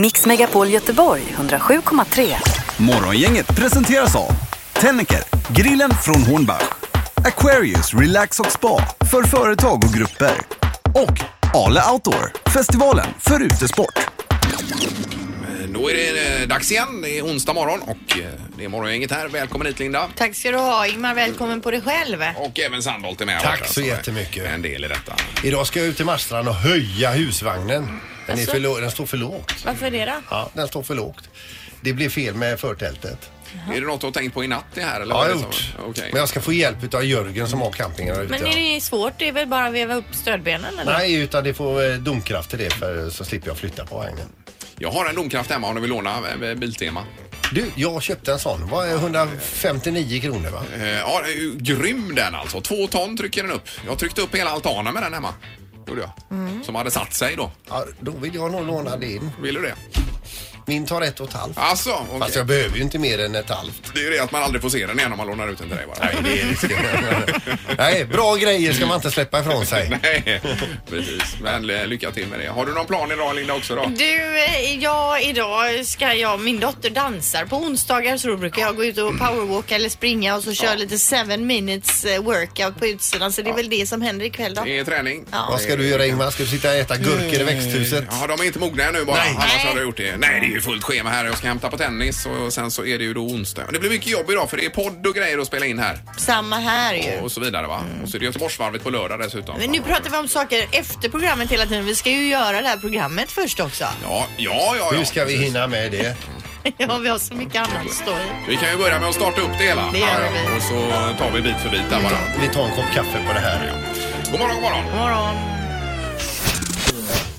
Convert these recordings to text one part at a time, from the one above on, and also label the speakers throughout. Speaker 1: Mix Megapol Göteborg 107,3.
Speaker 2: Morgongänget presenteras av Tennecker, grillen från Hornbach Aquarius Relax och Spa för företag och grupper och Ale Outdoor, festivalen för utesport.
Speaker 3: Eh, Då är det eh, dags igen. Det är onsdag morgon och eh, det är morgongänget här. Välkommen hit Linda.
Speaker 4: Tack ska du ha Ingmar, välkommen på dig själv.
Speaker 3: Och även Sandholt är med. här
Speaker 5: Tack
Speaker 3: borta,
Speaker 5: så
Speaker 3: eh,
Speaker 5: jättemycket.
Speaker 3: En del i detta.
Speaker 5: Idag ska jag ut till Marstrand och höja husvagnen. Den, är för lå- den står för lågt.
Speaker 4: Varför det då?
Speaker 5: Ja, den står för lågt. Det blev fel med förtältet.
Speaker 3: Är det något du har tänkt på i natt det här? Eller
Speaker 5: Ja,
Speaker 3: vad
Speaker 5: jag
Speaker 3: är
Speaker 5: har
Speaker 3: det som-
Speaker 5: gjort.
Speaker 3: Okej.
Speaker 5: Men jag ska få hjälp av Jörgen som har campingen där ute.
Speaker 4: Men är det svårt? Det är väl bara att veva upp stödbenen eller?
Speaker 5: Nej, utan det får eh, domkraft till det för så slipper jag flytta på vagnen.
Speaker 3: Jag har en domkraft hemma om du vill låna eh, Biltema.
Speaker 5: Du, jag köpte en sån. Vad är 159 kronor va?
Speaker 3: Eh, Ja, det är ju grym den alltså. Två ton trycker den upp. Jag tryckte upp hela altanen med den hemma. Gjorde jag.
Speaker 4: Mm.
Speaker 3: Som hade satt sig då.
Speaker 5: Ja, då vill jag nog låna din.
Speaker 3: Vill du det?
Speaker 5: Min tar ett och ett halvt.
Speaker 3: Alltså, okej.
Speaker 5: Fast jag behöver ju inte mer än ett halvt.
Speaker 3: Det är ju det att man aldrig får se den igen om man lånar ut den till dig bara.
Speaker 5: Nej, bra grejer ska man inte släppa ifrån sig.
Speaker 3: Nej, precis. Men eh, lycka till med det. Har du någon plan idag Linda också då?
Speaker 4: Du, eh, ja idag ska jag, min dotter dansar på onsdagar så då brukar jag gå ut och powerwalka eller springa och så köra lite seven minutes eh, workout på utsidan så det är väl det som händer ikväll då.
Speaker 3: Det är träning.
Speaker 4: Ja.
Speaker 5: Vad ska du göra Ingmar? Ska du sitta och äta gurkor i växthuset?
Speaker 3: Ja, de är inte mogna ännu bara.
Speaker 5: Nej.
Speaker 3: Annars
Speaker 4: Nej.
Speaker 3: hade jag gjort det. Nej, det är ju fullt schema här. Jag ska hämta på tennis och sen så är det ju då onsdag. Det blir mycket jobb idag för det är podd och grejer att spela in här.
Speaker 4: Samma här ju.
Speaker 3: Och så vidare va.
Speaker 5: Mm.
Speaker 3: Och så är det Göteborgsvarvet på lördag dessutom.
Speaker 4: Men nu pratar vi om saker efter programmet hela tiden. Vi ska ju göra det här programmet först också.
Speaker 3: Ja, ja, ja. ja.
Speaker 5: Hur ska vi hinna med det?
Speaker 4: Ja, vi har så mycket annat att stå i.
Speaker 3: Vi kan ju börja med att starta upp det hela.
Speaker 4: Det gör vi.
Speaker 3: Och så tar vi bit för bit där bara.
Speaker 5: Vi tar en kopp kaffe på det här.
Speaker 3: God morgon, god morgon.
Speaker 4: God morgon.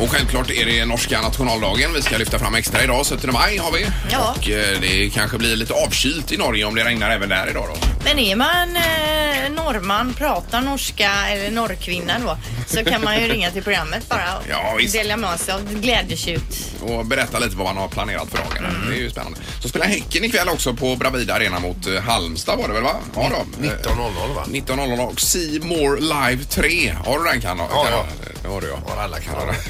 Speaker 3: Och självklart är det norska nationaldagen vi ska lyfta fram extra idag. 17 maj har vi.
Speaker 4: Ja.
Speaker 3: Och eh, det kanske blir lite avkylt i Norge om det regnar även där idag då.
Speaker 4: Men är man eh, norrman, pratar norska eller norrkvinna då så kan man ju ringa till programmet bara och
Speaker 3: Ja, visst.
Speaker 4: dela med sig av glädjetjut.
Speaker 3: Och berätta lite vad man har planerat för dagen.
Speaker 5: Mm.
Speaker 3: Det är ju spännande. Så spelar Häcken ikväll också på Bravida Arena mot eh, Halmstad var det väl va? Ja då. Eh,
Speaker 5: 19.00 va?
Speaker 3: 19.00 och See More Live 3. Har du den kan
Speaker 5: Ja, ja.
Speaker 3: Det har du ja.
Speaker 5: Har alla kanaler.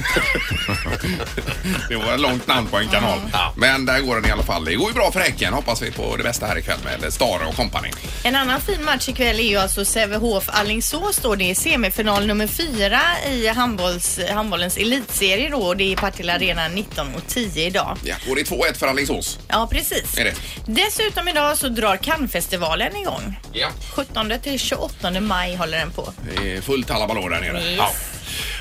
Speaker 3: Det var ett långt namn på en kanal. Men där går den i alla fall. Det går ju bra för Häcken. Hoppas vi på det bästa här ikväll med Stare och kompani.
Speaker 4: En annan fin match ikväll är ju alltså Sävehof Alingsås då. Det är semifinal nummer fyra i handbolls, handbollens elitserie då och det är Partille Arena 19 och 10 idag.
Speaker 3: Ja, och det är 2-1 för Alingsås.
Speaker 4: Ja, precis.
Speaker 3: Är det?
Speaker 4: Dessutom idag så drar Cannesfestivalen igång.
Speaker 3: Ja.
Speaker 4: 17 till 28 maj håller den på.
Speaker 3: Det är fullt alla ballor där nere.
Speaker 4: Yes.
Speaker 3: Ja.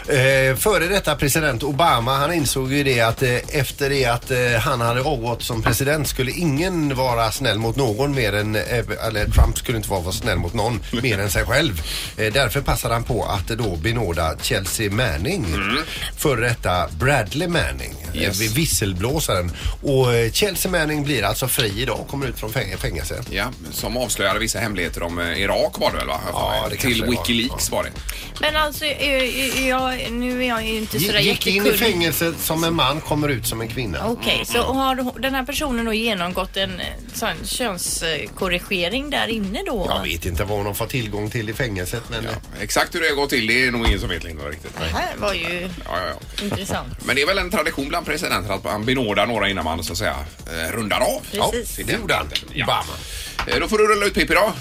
Speaker 5: Eh, före detta president Obama, han insåg ju det att eh, efter det att eh, han hade avgått som president skulle ingen vara snäll mot någon mer än, eh, eller Trump skulle inte vara vara snäll mot någon mer än sig själv. Eh, därför passade han på att eh, då benåda Chelsea Manning, före detta Bradley Manning, eh,
Speaker 3: Yes.
Speaker 5: vid visselblåsaren. Och eh, Chelsea Manning blir alltså fri idag, kommer ut från fäng- fängelse.
Speaker 3: Ja, som avslöjade vissa hemligheter om eh, Irak var det väl? Va?
Speaker 5: Ja, det
Speaker 3: Till
Speaker 5: kanske det var.
Speaker 3: Wikileaks var det.
Speaker 4: Men alltså, eh, jag, nu är jag ju inte sådär
Speaker 5: Gick in i
Speaker 4: jättekunnig.
Speaker 5: fängelset som en man, kommer ut som en kvinna.
Speaker 4: Okej, så har den här personen då genomgått en eh, sån könskorrigering där inne då?
Speaker 5: Jag vet inte vad hon får tillgång till i fängelset men... eh,
Speaker 3: Exakt hur det har gått till det är nog ingen som vet Linda riktigt.
Speaker 4: Det här var ju
Speaker 3: Ja, ja, ja.
Speaker 4: intressant.
Speaker 3: Men det är väl en tradition bland presidenter att man benådar några innan man så att säga eh, rundar av.
Speaker 4: Precis.
Speaker 3: det gjorde han. Ja.
Speaker 5: Obama.
Speaker 3: Eh, Då får du rulla ut Pippi då.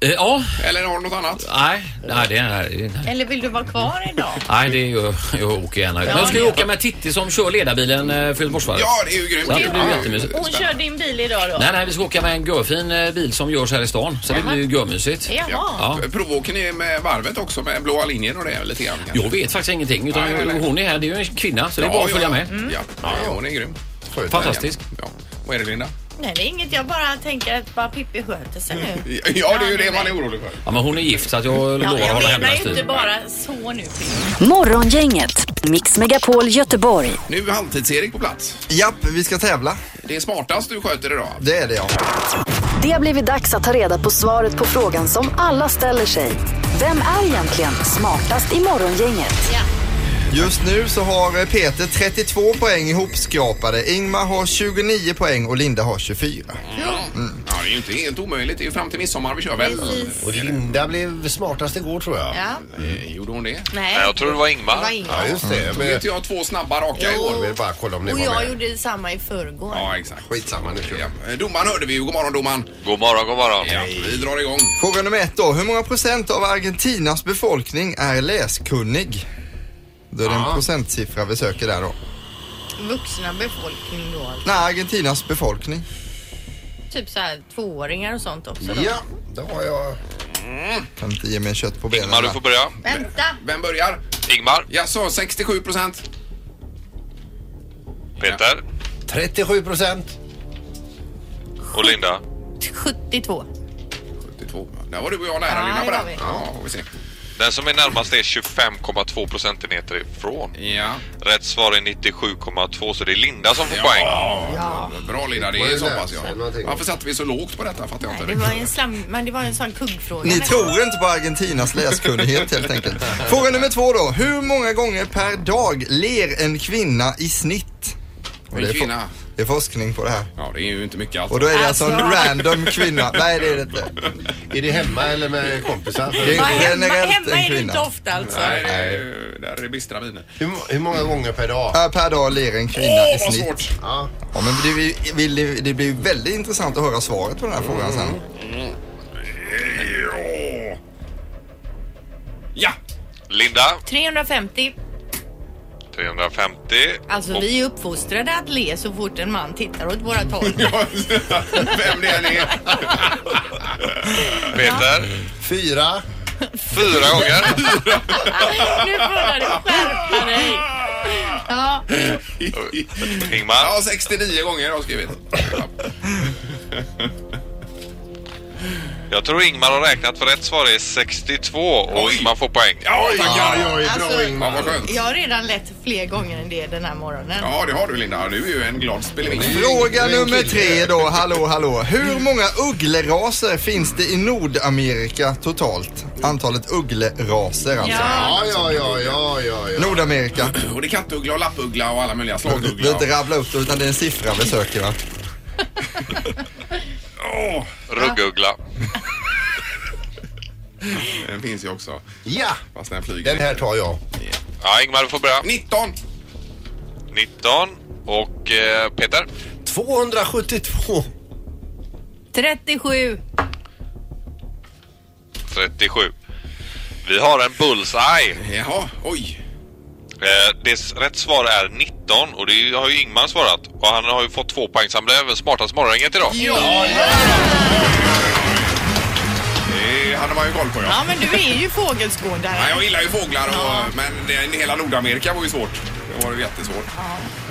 Speaker 6: Eh, Ja,
Speaker 3: Eller har du något annat?
Speaker 6: nej, nej, det är, nej,
Speaker 4: Eller vill du vara kvar idag?
Speaker 6: nej det är ju, jag åker gärna. Men jag ska ju
Speaker 4: det-
Speaker 6: åka med Titti som kör ledarbilen eh, för Göteborgsvarvet.
Speaker 3: Ja, det är ju grymt.
Speaker 6: Så att det blir
Speaker 3: Ja,
Speaker 6: jättemysigt.
Speaker 4: Hon kör din bil idag då?
Speaker 6: Nej, nej, vi ska åka med en görfin eh, bil som görs här i stan. Så det blir ju görmysigt.
Speaker 4: Jaha.
Speaker 3: Ja. Provåken är med varvet också med blåa linjen och det lite grann. kanske.
Speaker 6: Jag vet faktiskt ingenting. Utan
Speaker 3: Nej, nej, nej.
Speaker 6: hon är här, det är ju en kvinna. Så det är bara att följa med.
Speaker 3: Ja, Mm. ja, hon är grym.
Speaker 5: Sköter
Speaker 6: Fantastisk.
Speaker 3: Ja. Vad är det Linda?
Speaker 4: Nej, det är inget. Jag bara tänker att bara Pippi sköter sig
Speaker 3: Mm.
Speaker 4: nu.
Speaker 3: Ja, det är ju det man är orolig för.
Speaker 6: Ja, men hon är gift så att jag
Speaker 4: Ja,
Speaker 6: lovar att
Speaker 4: jag
Speaker 6: hålla
Speaker 4: menar
Speaker 6: henne
Speaker 4: ju inte
Speaker 6: styr.
Speaker 4: bara så nu Pippi.
Speaker 1: Morgongänget, Mix Megapol Göteborg.
Speaker 3: Nu är Halvtids-Erik på plats.
Speaker 7: Japp, vi ska tävla.
Speaker 3: Det är smartast du sköter idag.
Speaker 7: Det är det ja.
Speaker 1: Det har blivit dags att ta reda på svaret på frågan som alla ställer sig. Vem är egentligen smartast i Morgongänget?
Speaker 7: Just nu så har eh, Peter 32 poäng ihopskrapade, Ingmar har 29 poäng och Linda har 24.
Speaker 3: Ja, det det är ju inte helt omöjligt. Det är ju fram till midsommar vi kör väl?
Speaker 4: Precis.
Speaker 5: Och Linda blev smartast igår tror jag.
Speaker 4: Ja.
Speaker 3: Eh, Gjorde hon det?
Speaker 4: Nej.
Speaker 8: Nej, jag tror det var Ingmar.
Speaker 4: Det var Ingmar.
Speaker 5: Ja, just det.
Speaker 3: Tog
Speaker 5: Men,
Speaker 3: inte jag två snabba raka
Speaker 4: Jo.
Speaker 5: jag
Speaker 3: igår?
Speaker 5: vill bara kolla om ni
Speaker 4: Och
Speaker 5: var
Speaker 4: jag
Speaker 5: med.
Speaker 4: gjorde detsamma i förrgår.
Speaker 3: Ja, exakt.
Speaker 5: Skitsamma nu. tror jag.
Speaker 3: Ja. Eh, Domaren hörde vi ju. God morgon domaren.
Speaker 8: God morgon, god morgon.
Speaker 3: Ja, vi drar igång.
Speaker 7: Fråga nummer ett då. Hur många procent av Argentinas befolkning är läskunnig? Då är det
Speaker 3: Ah.
Speaker 7: en procentsiffra vi söker där då.
Speaker 4: Vuxna befolkning då. alltså.
Speaker 7: Nej, Argentinas befolkning.
Speaker 4: Typ så här tvååringar och sånt också då.
Speaker 5: Ja, det har jag.
Speaker 7: Kan inte ge mig kött på benen.
Speaker 8: Ingmar, du
Speaker 7: där.
Speaker 8: får börja.
Speaker 4: Vänta!
Speaker 3: Vem börjar?
Speaker 8: Ingmar,
Speaker 3: Jag sa 67 procent.
Speaker 8: Peter
Speaker 5: 37 procent.
Speaker 8: och Linda.
Speaker 4: 72.
Speaker 3: 72. Där var du och jag nära
Speaker 4: Ja,
Speaker 3: Linda
Speaker 4: det
Speaker 3: på
Speaker 4: var
Speaker 3: den.
Speaker 4: vi.
Speaker 3: Ja, får vi se.
Speaker 8: Den som är närmast är 25,2 procentenheter ifrån.
Speaker 3: Ja.
Speaker 8: Rätt svar är 97,2 så det är Linda som får poäng.
Speaker 3: Ja. Bra Linda, det
Speaker 5: Det
Speaker 3: är
Speaker 5: var
Speaker 3: så
Speaker 5: ju
Speaker 3: pass
Speaker 5: lätt.
Speaker 3: ja.
Speaker 5: Någonting.
Speaker 3: Varför satte vi så lågt på detta? Fattar jag
Speaker 4: Nej,
Speaker 3: inte.
Speaker 4: det var en slam... Men det var en sån kuggfråga.
Speaker 7: Ni
Speaker 4: nästan.
Speaker 7: tror inte på Argentinas läskunnighet helt enkelt. Fråga nummer två då. Hur många gånger per dag ler en kvinna i snitt? Och
Speaker 3: En
Speaker 7: det, är
Speaker 3: kvinna.
Speaker 7: for- det är forskning på det här.
Speaker 3: Ja, det är ju inte mycket
Speaker 7: Och
Speaker 3: alltså.
Speaker 7: då är det alltså en
Speaker 4: Alltså.
Speaker 7: random kvinna. Nej det är det inte.
Speaker 5: Är det hemma eller med kompisar?
Speaker 7: Det
Speaker 4: Ja,
Speaker 7: är
Speaker 4: hemma,
Speaker 7: generellt
Speaker 4: hemma
Speaker 7: en
Speaker 4: är det inte
Speaker 7: kvinna.
Speaker 4: ofta alltså.
Speaker 3: Nej, det är, där är det bistra miner.
Speaker 5: Hur, hur många gånger per dag?
Speaker 7: Ja, Äh, Per dag ler en kvinna i
Speaker 3: Åh, vad
Speaker 7: snitt.
Speaker 3: svårt!
Speaker 5: Ja.
Speaker 7: Ja, men det, blir- vill- det blir väldigt intressant att höra svaret på den här frågan sen.
Speaker 3: Ja. Ja!
Speaker 8: Linda
Speaker 4: 350.
Speaker 8: 350.
Speaker 4: Alltså
Speaker 8: och
Speaker 4: vi är uppfostrade att le så fort en man tittar åt våra håll.
Speaker 3: Vem det än är.
Speaker 8: Peter
Speaker 5: Fyra.
Speaker 8: fyra gånger.
Speaker 4: nu börjar du skärpa dig. Ja,
Speaker 8: Ingmar
Speaker 3: Ja, 69 gånger har jag skrivit. Ja.
Speaker 8: jag tror Ingmar har räknat för rätt svar är 62 och
Speaker 3: Oj.
Speaker 8: Ingmar får poäng.
Speaker 3: Ja, tackar! Ja,
Speaker 4: alltså,
Speaker 3: vad skönt.
Speaker 4: jag har redan lett fler gånger än det den här morgonen.
Speaker 3: Ja, det har du Linda. Du är ju en glad spelvin.
Speaker 7: Fråga
Speaker 5: Det är en
Speaker 7: nummer
Speaker 5: kille.
Speaker 7: tre då, hallå hallå. Hur många uggleraser finns det i Nordamerika totalt? Antalet uggleraser alltså.
Speaker 4: Ja.
Speaker 5: Ja, ja, ja, ja, ja. ja.
Speaker 7: Nordamerika.
Speaker 3: Och det är kattuggla och lappuggla och alla möjliga
Speaker 7: Du behöver
Speaker 3: slaguggla.
Speaker 7: inte rabbla upp det utan det är en siffra vi söker va?
Speaker 3: Åh,
Speaker 8: Ruggugla.
Speaker 3: den finns ju också.
Speaker 5: Ja,
Speaker 3: Fast den flyger.
Speaker 5: den här tar jag.
Speaker 8: Ja, Ingmar du får börja.
Speaker 3: 19!
Speaker 8: 19 och eh, Peter
Speaker 5: 272.
Speaker 4: 37.
Speaker 8: 37. Vi har en bullseye.
Speaker 3: Jaha, oj.
Speaker 8: Eh, det s- rätt svar är 19 och det har ju Ingmar svarat. Och han har ju fått två poäng så han blev även smartast morgongänget idag.
Speaker 3: Ja, ja. Det hade man ju koll på ja.
Speaker 4: Ja men du är ju fågelskådare.
Speaker 3: Nej, jag gillar ju fåglar och, men det, hela Nordamerika var ju svårt. Det var ju jättesvårt. Ja.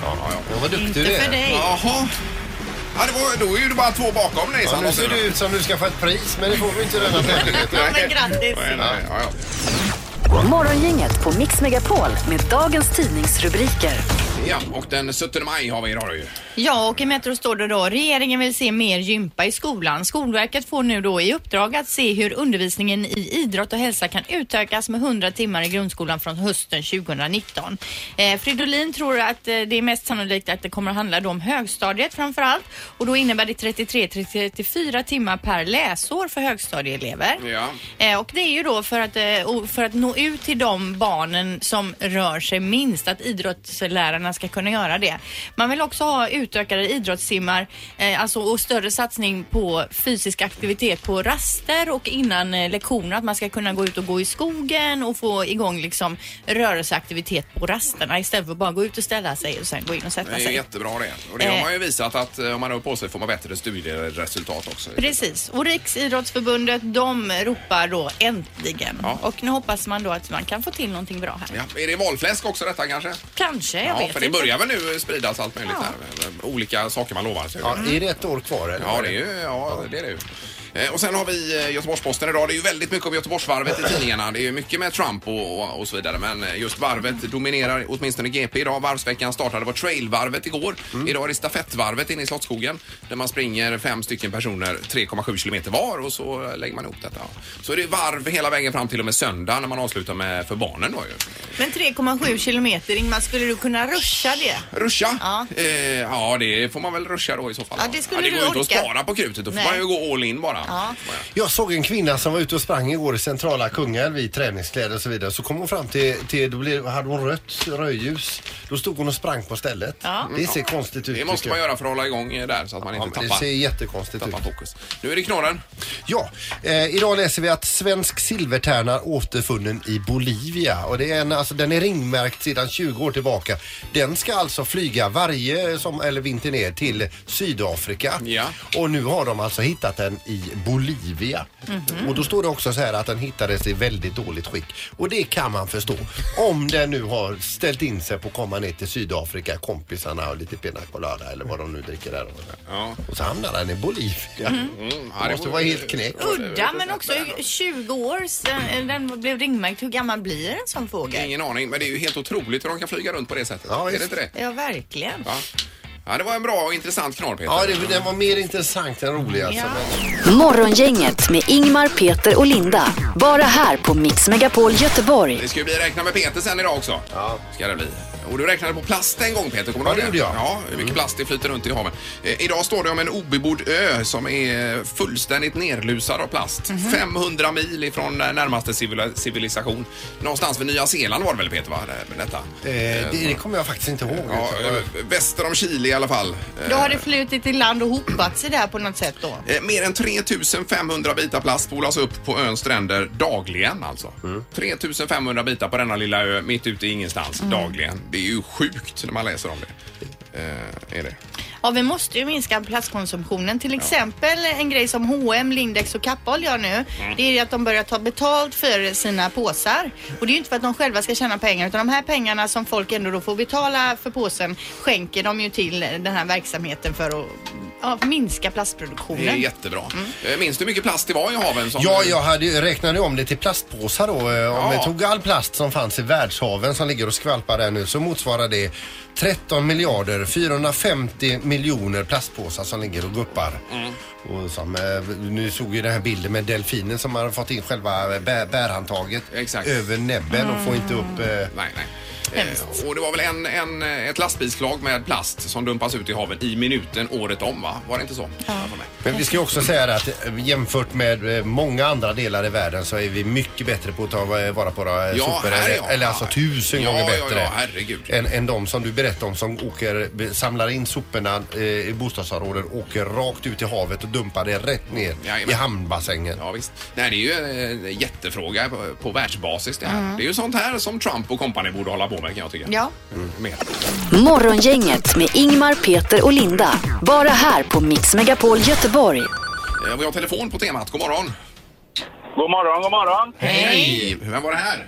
Speaker 3: Ja, ja.
Speaker 5: Ja, vad duktig
Speaker 4: Inte
Speaker 5: du
Speaker 4: för
Speaker 5: är.
Speaker 4: dig.
Speaker 3: Jaha. Ja, det var, då är ju det bara två bakom dig.
Speaker 5: Ja,
Speaker 3: Sandra.
Speaker 5: nu ser det ut som du ska få ett pris, men det får vi inte i denna tävlingen.
Speaker 4: Ja, men grattis.
Speaker 3: Nej, nej, ja, ja.
Speaker 1: Morgongänget på Mix Megapol med dagens tidningsrubriker.
Speaker 3: Ja, och den 17 maj har vi idag då ju.
Speaker 4: Ja, och i Metro står det då regeringen vill se mer gympa i skolan. Skolverket får nu då i uppdrag att se hur undervisningen i idrott och hälsa kan utökas med 100 timmar i grundskolan från hösten 2019. Eh, Fridolin tror att eh, det är mest sannolikt att det kommer att handla då om högstadiet framför allt och då innebär det 33-34 timmar per läsår för högstadieelever.
Speaker 3: Ja.
Speaker 4: Eh, Och det är ju då för att, eh, o- för att nå ut till de barnen som rör sig minst, att idrottslärarna ska kunna göra det. Man vill också ha utökade idrottstimmar eh, alltså, och större satsning på fysisk aktivitet på raster och innan eh, lektioner, att man ska kunna gå ut och gå i skogen och få igång liksom rörelseaktivitet på rasterna istället för att bara gå ut och ställa sig och sen gå in och sätta
Speaker 3: Det är
Speaker 4: sig.
Speaker 3: jättebra det. Och det har man ju visat att eh, om man rör på sig får man bättre studieresultat också.
Speaker 4: Precis, och Riksidrottsförbundet de ropar då äntligen.
Speaker 3: Ja.
Speaker 4: Och nu hoppas man då att man kan få till någonting bra här.
Speaker 3: Ja, är det valfläsk också detta kanske?
Speaker 4: Kanske, jag
Speaker 3: Ja,
Speaker 4: vet
Speaker 3: för det
Speaker 4: inte.
Speaker 3: börjar väl nu spridas allt möjligt här. Olika saker man lovar sig.
Speaker 5: Ja, är det ett år kvar eller?
Speaker 3: Ja, det är ju, ja, det är det ju. Eh, Och sen har vi eh, Göteborgs-Posten idag. Det är ju väldigt mycket om Göteborgsvarvet i tidningarna. Det är ju mycket med Trump och, och, och så vidare. Men eh, just varvet dominerar åtminstone GP idag. Varvsveckan startade var trailvarvet igår.
Speaker 5: Mm.
Speaker 3: Idag är det stafettvarvet inne i Slottsskogen. Där man springer fem stycken personer 3,7 kilometer var och så eh, lägger man ihop detta. Så är det varv hela vägen fram till och med söndag när man avslutar med för barnen då ju.
Speaker 4: Men 3,7 kilometer, Ingmar, skulle du kunna ruscha det?
Speaker 3: Ruscha?
Speaker 4: Ja.
Speaker 3: Eh, ja, det får man väl ruscha då i så fall.
Speaker 4: Ja, det skulle
Speaker 3: det
Speaker 4: du
Speaker 3: går ju inte att
Speaker 4: orka.
Speaker 3: spara på krutet. Då får
Speaker 4: Nej.
Speaker 3: man ju gå all in bara.
Speaker 4: Ja.
Speaker 5: Jag såg en kvinna som var ute och sprang igår i centrala Kungälv i träningskläder och så vidare. Så kom hon fram till, till då blev, hade hon rött rödljus. Då stod hon och sprang på stället.
Speaker 4: Ja.
Speaker 5: Det ser konstigt ut.
Speaker 3: Det måste
Speaker 5: tycker
Speaker 3: man
Speaker 5: jag.
Speaker 3: göra för att hålla igång eh, där så att man
Speaker 5: Ja,
Speaker 3: inte
Speaker 5: men det
Speaker 3: tappar,
Speaker 5: ser jättekonstigt ut.
Speaker 3: tappar fokus. Nu är det knorren.
Speaker 5: Ja, eh, idag läser vi att svensk silvertärna återfunnen i Bolivia. Och det är en, alltså, den är ringmärkt sedan 20 år tillbaka. Den ska alltså flyga varje som, eller vinter ner till Sydafrika.
Speaker 3: Ja.
Speaker 5: Och nu har de alltså hittat den i Bolivia.
Speaker 3: Mhm.
Speaker 5: Och då står det också så här att den hittades i väldigt dåligt skick. Och det kan man förstå. Om den nu har ställt in sig på att komma ner till Sydafrika, kompisarna och lite pina colada eller vad de nu dricker där.
Speaker 3: Ja. Mm.
Speaker 5: Och så hamnar den i Bolivia.
Speaker 3: Ja,
Speaker 5: Det måste
Speaker 3: vore-
Speaker 5: vara helt knäckt.
Speaker 4: Udda, men också 20 år sedan eh, den blev ringmärkt. Hur gammal blir en sån fågel?
Speaker 3: Ingen aning, men det är ju helt otroligt hur de kan flyga runt på det sättet.
Speaker 5: Ja,
Speaker 3: är det
Speaker 5: visst.
Speaker 3: inte det?
Speaker 4: Ja, verkligen.
Speaker 3: Ja. ja, det var en bra och intressant knorr, Peter.
Speaker 5: Ja, det, den var mer intressant än rolig alltså.
Speaker 4: Ja.
Speaker 1: Morgongänget med Ingmar, Peter och Linda. Bara här på Mix Megapol Göteborg.
Speaker 3: Det ska ju bli Räkna med Peter sen idag också.
Speaker 5: Ja.
Speaker 3: Ska det bli. Och du räknade på plast en gång Peter, kommer du
Speaker 5: Ja,
Speaker 3: ihåg
Speaker 5: det gjorde jag. Mm.
Speaker 3: Ja, hur mycket plast det flyter runt i haven. Eh, idag står det om en obebodd ö som är fullständigt nerlusad av plast.
Speaker 5: Mhm.
Speaker 3: 500 mil ifrån eh, närmaste civila- civilisation. Någonstans vid Nya Zeeland var det väl Peter, va? Det- Med detta.
Speaker 5: Eh, det, det kommer jag faktiskt inte ihåg.
Speaker 3: Ja, eh, väster om Chile i alla fall. Eh,
Speaker 4: Då har det flutit i land och hopat sig där på något sätt då.
Speaker 3: Eh, mer än 3500 bitar plast spolas upp på öns stränder dagligen alltså. 3500 bitar på denna lilla ö mitt ute i ingenstans dagligen. Det är ju sjukt när man läser om det. Eh, är det.
Speaker 4: Ja, vi måste ju minska plastkonsumtionen. Till exempel en grej som H&M, Lindex och Kappahl gör nu.
Speaker 3: Mm.
Speaker 4: Det är ju att de börjar ta betalt för sina påsar. Och det är ju inte för att de själva ska tjäna pengar utan de här pengarna som folk ändå då får betala för påsen skänker de ju till den här verksamheten för att ja, minska
Speaker 3: det är
Speaker 4: plastproduktionen.
Speaker 3: jättebra. Eh, minns du hur mycket plast det var i haven? Som,
Speaker 5: Ja, jag hade, ju- räknade om det till plastpåsar då. Eh, Om
Speaker 3: Ja.
Speaker 5: vi tog all plast som fanns i världshaven som ligger och skvalpar där nu så motsvarar det 13 miljarder 450 miljoner plastpåsar som ligger och guppar.
Speaker 3: Mm.
Speaker 5: Och som, eh, nu såg ju den här bilden med delfinen som har fått in själva bä, bärhandtaget
Speaker 3: Exakt.
Speaker 5: över näbben och
Speaker 4: Mm.
Speaker 5: får inte upp... Eh,
Speaker 3: Nej, nej. Eh, och det var väl en, en, eh, ett lastbilsflak med plast som dumpas ut i haven i minuten året om va? Var det inte så? Ja.
Speaker 5: Men vi ska ju också säga det att eh, jämfört med eh, många andra delar i världen så är vi mycket bättre på att ta eh, vara på våra eh,
Speaker 3: Ja,
Speaker 5: sopor.
Speaker 3: här är
Speaker 5: Eller,
Speaker 3: jag.
Speaker 5: eller alltså tusen
Speaker 3: Ja,
Speaker 5: gånger
Speaker 3: ja,
Speaker 5: bättre.
Speaker 3: ja, herregud.
Speaker 5: Än, än de som du berättade om som åker, be- samlar in soporna eh, i bostadsområden, åker rakt ut i havet och dumpar det rätt ner
Speaker 3: Jajamän.
Speaker 5: i hamnbassängen.
Speaker 3: Ja, visst. Nej, det är ju en eh, jättefråga på, på världsbasis det här. Det är ju sånt här som Trump och company borde hålla på med kan jag tycka.
Speaker 4: Ja.
Speaker 3: Mm, mer.
Speaker 1: Morgongänget med Ingmar, Peter och Linda. Bara här på Mix Megapol Göteborg.
Speaker 3: Eh, Vi har telefon på temat. God morgon.
Speaker 9: God morgon, god morgon.
Speaker 3: Hej! Vem var det här?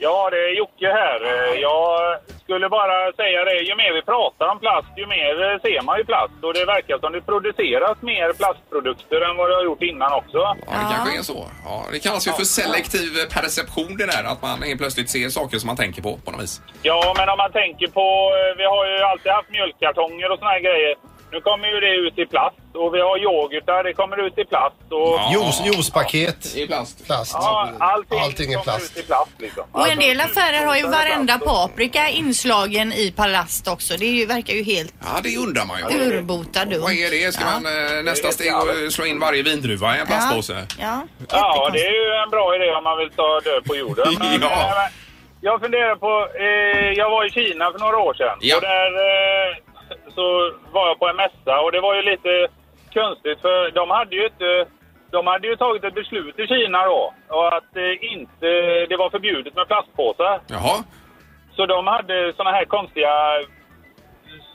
Speaker 9: Ja, det är Jocke här. Eh, Jag skulle bara säga det, ju mer vi pratar om plast, ju mer eh, ser man ju plast. Och det verkar som det produceras mer plastprodukter än vad det har gjort innan också.
Speaker 3: Ja, det kanske är så. Ja, det kallas ju för selektiv perception det där. Att man helt plötsligt ser saker som man tänker på på något vis.
Speaker 9: Ja, men om man tänker på, eh, vi har ju alltid haft mjölkkartonger och såna här grejer. Nu kommer ju det ut i plast och vi har yoghurtar, det kommer ut i plast och...
Speaker 3: Ja.
Speaker 5: Juice, juicepaket,
Speaker 3: I plast.
Speaker 5: plast.
Speaker 9: Ja, allting,
Speaker 5: Allting är
Speaker 9: kommer
Speaker 5: plast.
Speaker 9: ut i plast liksom.
Speaker 4: Och en del
Speaker 9: Alltså,
Speaker 4: affärer har ju
Speaker 9: plast och-
Speaker 4: varenda paprika inslagen i palast också. Det är ju, verkar ju helt
Speaker 3: Ja, det undrar man ju.
Speaker 4: urbota dumt.
Speaker 3: Vad är det? Ska
Speaker 4: Ja.
Speaker 3: man eh, nästa steg och slå in varje vindruva i en plastpåse?
Speaker 4: Ja, ja.
Speaker 9: Ja, det
Speaker 4: Jättekonstigt.
Speaker 9: är ju en bra idé om man vill ta död på jorden. Men,
Speaker 3: Ja.
Speaker 9: eh, Jag funderar på, eh, jag var i Kina för några år sedan.
Speaker 3: Ja.
Speaker 9: Och där eh, så var jag på en mässa och det var ju lite konstigt för de hade ju inte, de hade ju tagit ett beslut i Kina då. Och att eh, inte, det var förbjudet med plastpåsar.
Speaker 3: Jaha.
Speaker 9: Så de hade såna här konstiga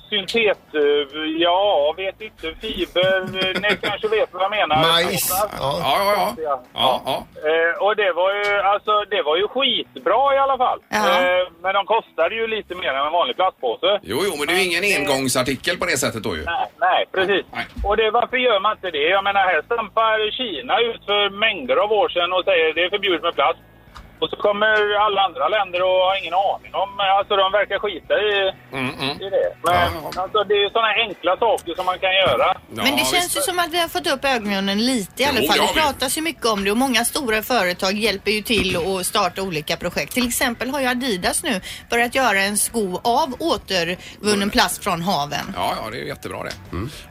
Speaker 9: syntet... eh, Ja, vet inte. Fiber... eh, Ni kanske vet vad jag menar.
Speaker 5: Majs. Ja.
Speaker 3: Ja, ja, ja. ja, ja.
Speaker 9: Eh, och det var, ju, alltså, det var ju skitbra i alla fall.
Speaker 4: Ja.
Speaker 9: Eh, men de kostade ju lite mer än en vanlig plastpåse.
Speaker 3: Jo, jo, men det är ju ingen engångsartikel på det sättet då ju.
Speaker 9: Nej, nej, precis.
Speaker 3: Nej.
Speaker 9: Och det, varför gör man inte det? Jag menar, här stampar Kina ut för mängder av år sedan och säger det är förbjudet med plast. Och så kommer alla andra länder och har ingen aning om... Alltså, de verkar skita i, i det. Men
Speaker 3: Mm, Ja.
Speaker 9: alltså, det är ju sådana enkla saker som man kan göra.
Speaker 4: Men det
Speaker 3: Ja,
Speaker 4: känns
Speaker 3: visst.
Speaker 4: ju som att vi har fått upp ögonen lite i alla
Speaker 3: Jo,
Speaker 4: fall.
Speaker 3: det har
Speaker 4: Det
Speaker 3: vi.
Speaker 4: pratas ju mycket om det och många stora företag hjälper ju till att starta olika projekt. Till exempel har ju Adidas nu börjat göra en sko av återvunnen plast från haven.
Speaker 3: Ja, ja, det är ju jättebra det.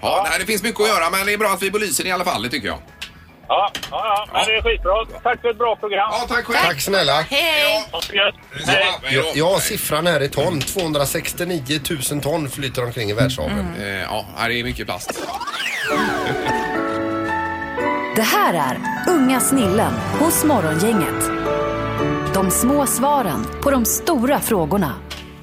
Speaker 3: Ja, nej, det finns mycket att göra, men det är bra att vi belyser det i alla fall, det tycker jag.
Speaker 9: Ja, ja, ja. Men det är skitbra. Tack för ett bra program.
Speaker 3: Ja, tack själv.
Speaker 5: Tack snälla.
Speaker 4: Hej!
Speaker 9: Ha det gött. Hej.
Speaker 3: Ja, hej då.
Speaker 5: Jag, jag har siffran här i ton. 269 000 ton flyter omkring i världshaven.
Speaker 3: Eh, Ja, här är mycket plast.
Speaker 1: Det här är Unga snillen hos Morgongänget. De små svaren på de stora frågorna.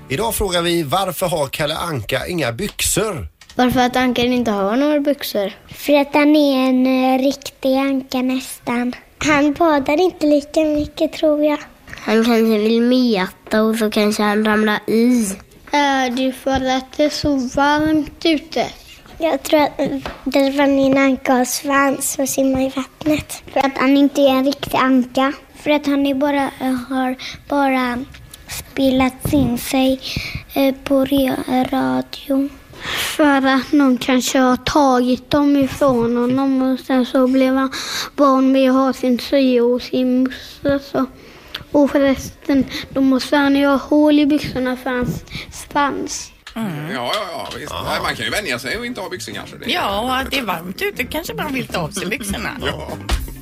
Speaker 5: Idag frågar vi varför har Kalle Anka inga byxor?
Speaker 10: Varför att ankan inte har några byxor?
Speaker 11: För att han är en eh, riktig anka nästan. Han badar inte lika mycket tror jag.
Speaker 10: Han kanske vill meta och så kanske han ramlar i.
Speaker 11: Är det för att det är så varmt ute?
Speaker 10: Jag tror att därför han är en anka och svans och simmar i vattnet. För att han inte är en riktig anka. För att han är bara, eh, har bara spelat in sig eh, på re- radio. För att någon kanske har tagit dem ifrån honom och sen så blev han barn med att ha sin syo och sin musse. Så. Och förresten, då måste han ju ha hål i byxorna för hans svans.
Speaker 3: Ja, ja, Mm. ja, visst. Nej, man kan ju vänja sig och inte ha byxor kanske. Det-
Speaker 4: Ja, och att det är varmt ute kanske man vill ta av sig byxorna.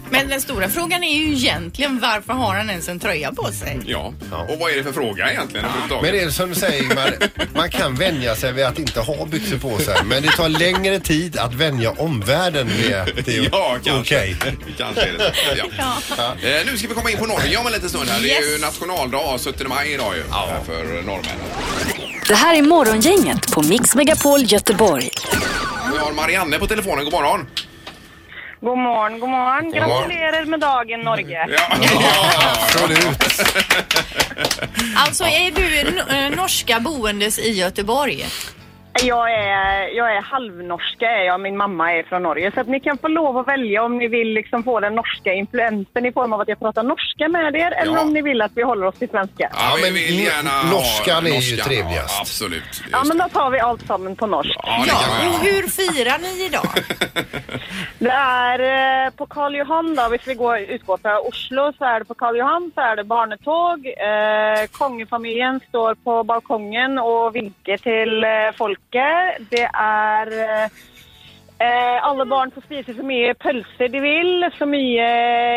Speaker 4: Men den stora frågan är ju egentligen varför har han ens en tröja på sig?
Speaker 3: Ja, och vad är det för fråga egentligen?
Speaker 5: Men det
Speaker 3: överhuvudtaget?
Speaker 5: är som du säger Ingmar, man kan vänja sig vid att inte ha byxor på sig. Men det tar längre tid att vänja omvärlden vid att det. är
Speaker 3: Ja, kanske.
Speaker 5: Okej.
Speaker 3: kanske är det så. Ja. Eh, nu ska vi komma in på Norge om en liten stund. Här. Det är ju
Speaker 4: Yes.
Speaker 3: nationaldag, eh, 17 maj idag ju, ja. för eh, norrmännen.
Speaker 1: Det här är Morgongänget på Mix Megapol Göteborg.
Speaker 3: Vi har Marianne på telefonen. God morgon.
Speaker 11: God morgon, god morgon. Gratulerar med dagen Norge.
Speaker 3: Ja, ja.
Speaker 5: Absolut.
Speaker 4: Alltså är du eh, norska boendes i Göteborg?
Speaker 11: Jag är, jag är halvnorska, är jag. min mamma är från Norge. Så att ni kan få lov att välja om ni vill liksom få den norska influensen i form av att jag pratar norska med er eller
Speaker 3: Ja.
Speaker 11: om ni vill att vi håller oss till svenska.
Speaker 3: Ja,
Speaker 5: men
Speaker 3: vi vill gärna
Speaker 5: n-
Speaker 3: ha
Speaker 5: norskan är ju
Speaker 3: norskan,
Speaker 5: trevligast.
Speaker 3: Ja, absolut.
Speaker 11: Ja,
Speaker 3: Just
Speaker 11: men
Speaker 3: det.
Speaker 11: då tar vi allt sammen på norsk.
Speaker 3: Ja, det kan
Speaker 4: Ja,
Speaker 3: man
Speaker 4: och
Speaker 3: göra.
Speaker 4: hur firar ni idag?
Speaker 11: Det är eh, på Karl Johan då, hvis vi går, utgår från Oslo så är det på Karl Johan så är det barnetåg. Eh, kongefamiljen står på balkongen och vinkar till eh, folket. Det är eh, Eh, alla barn får spise så mycket pölser de vill, så mycket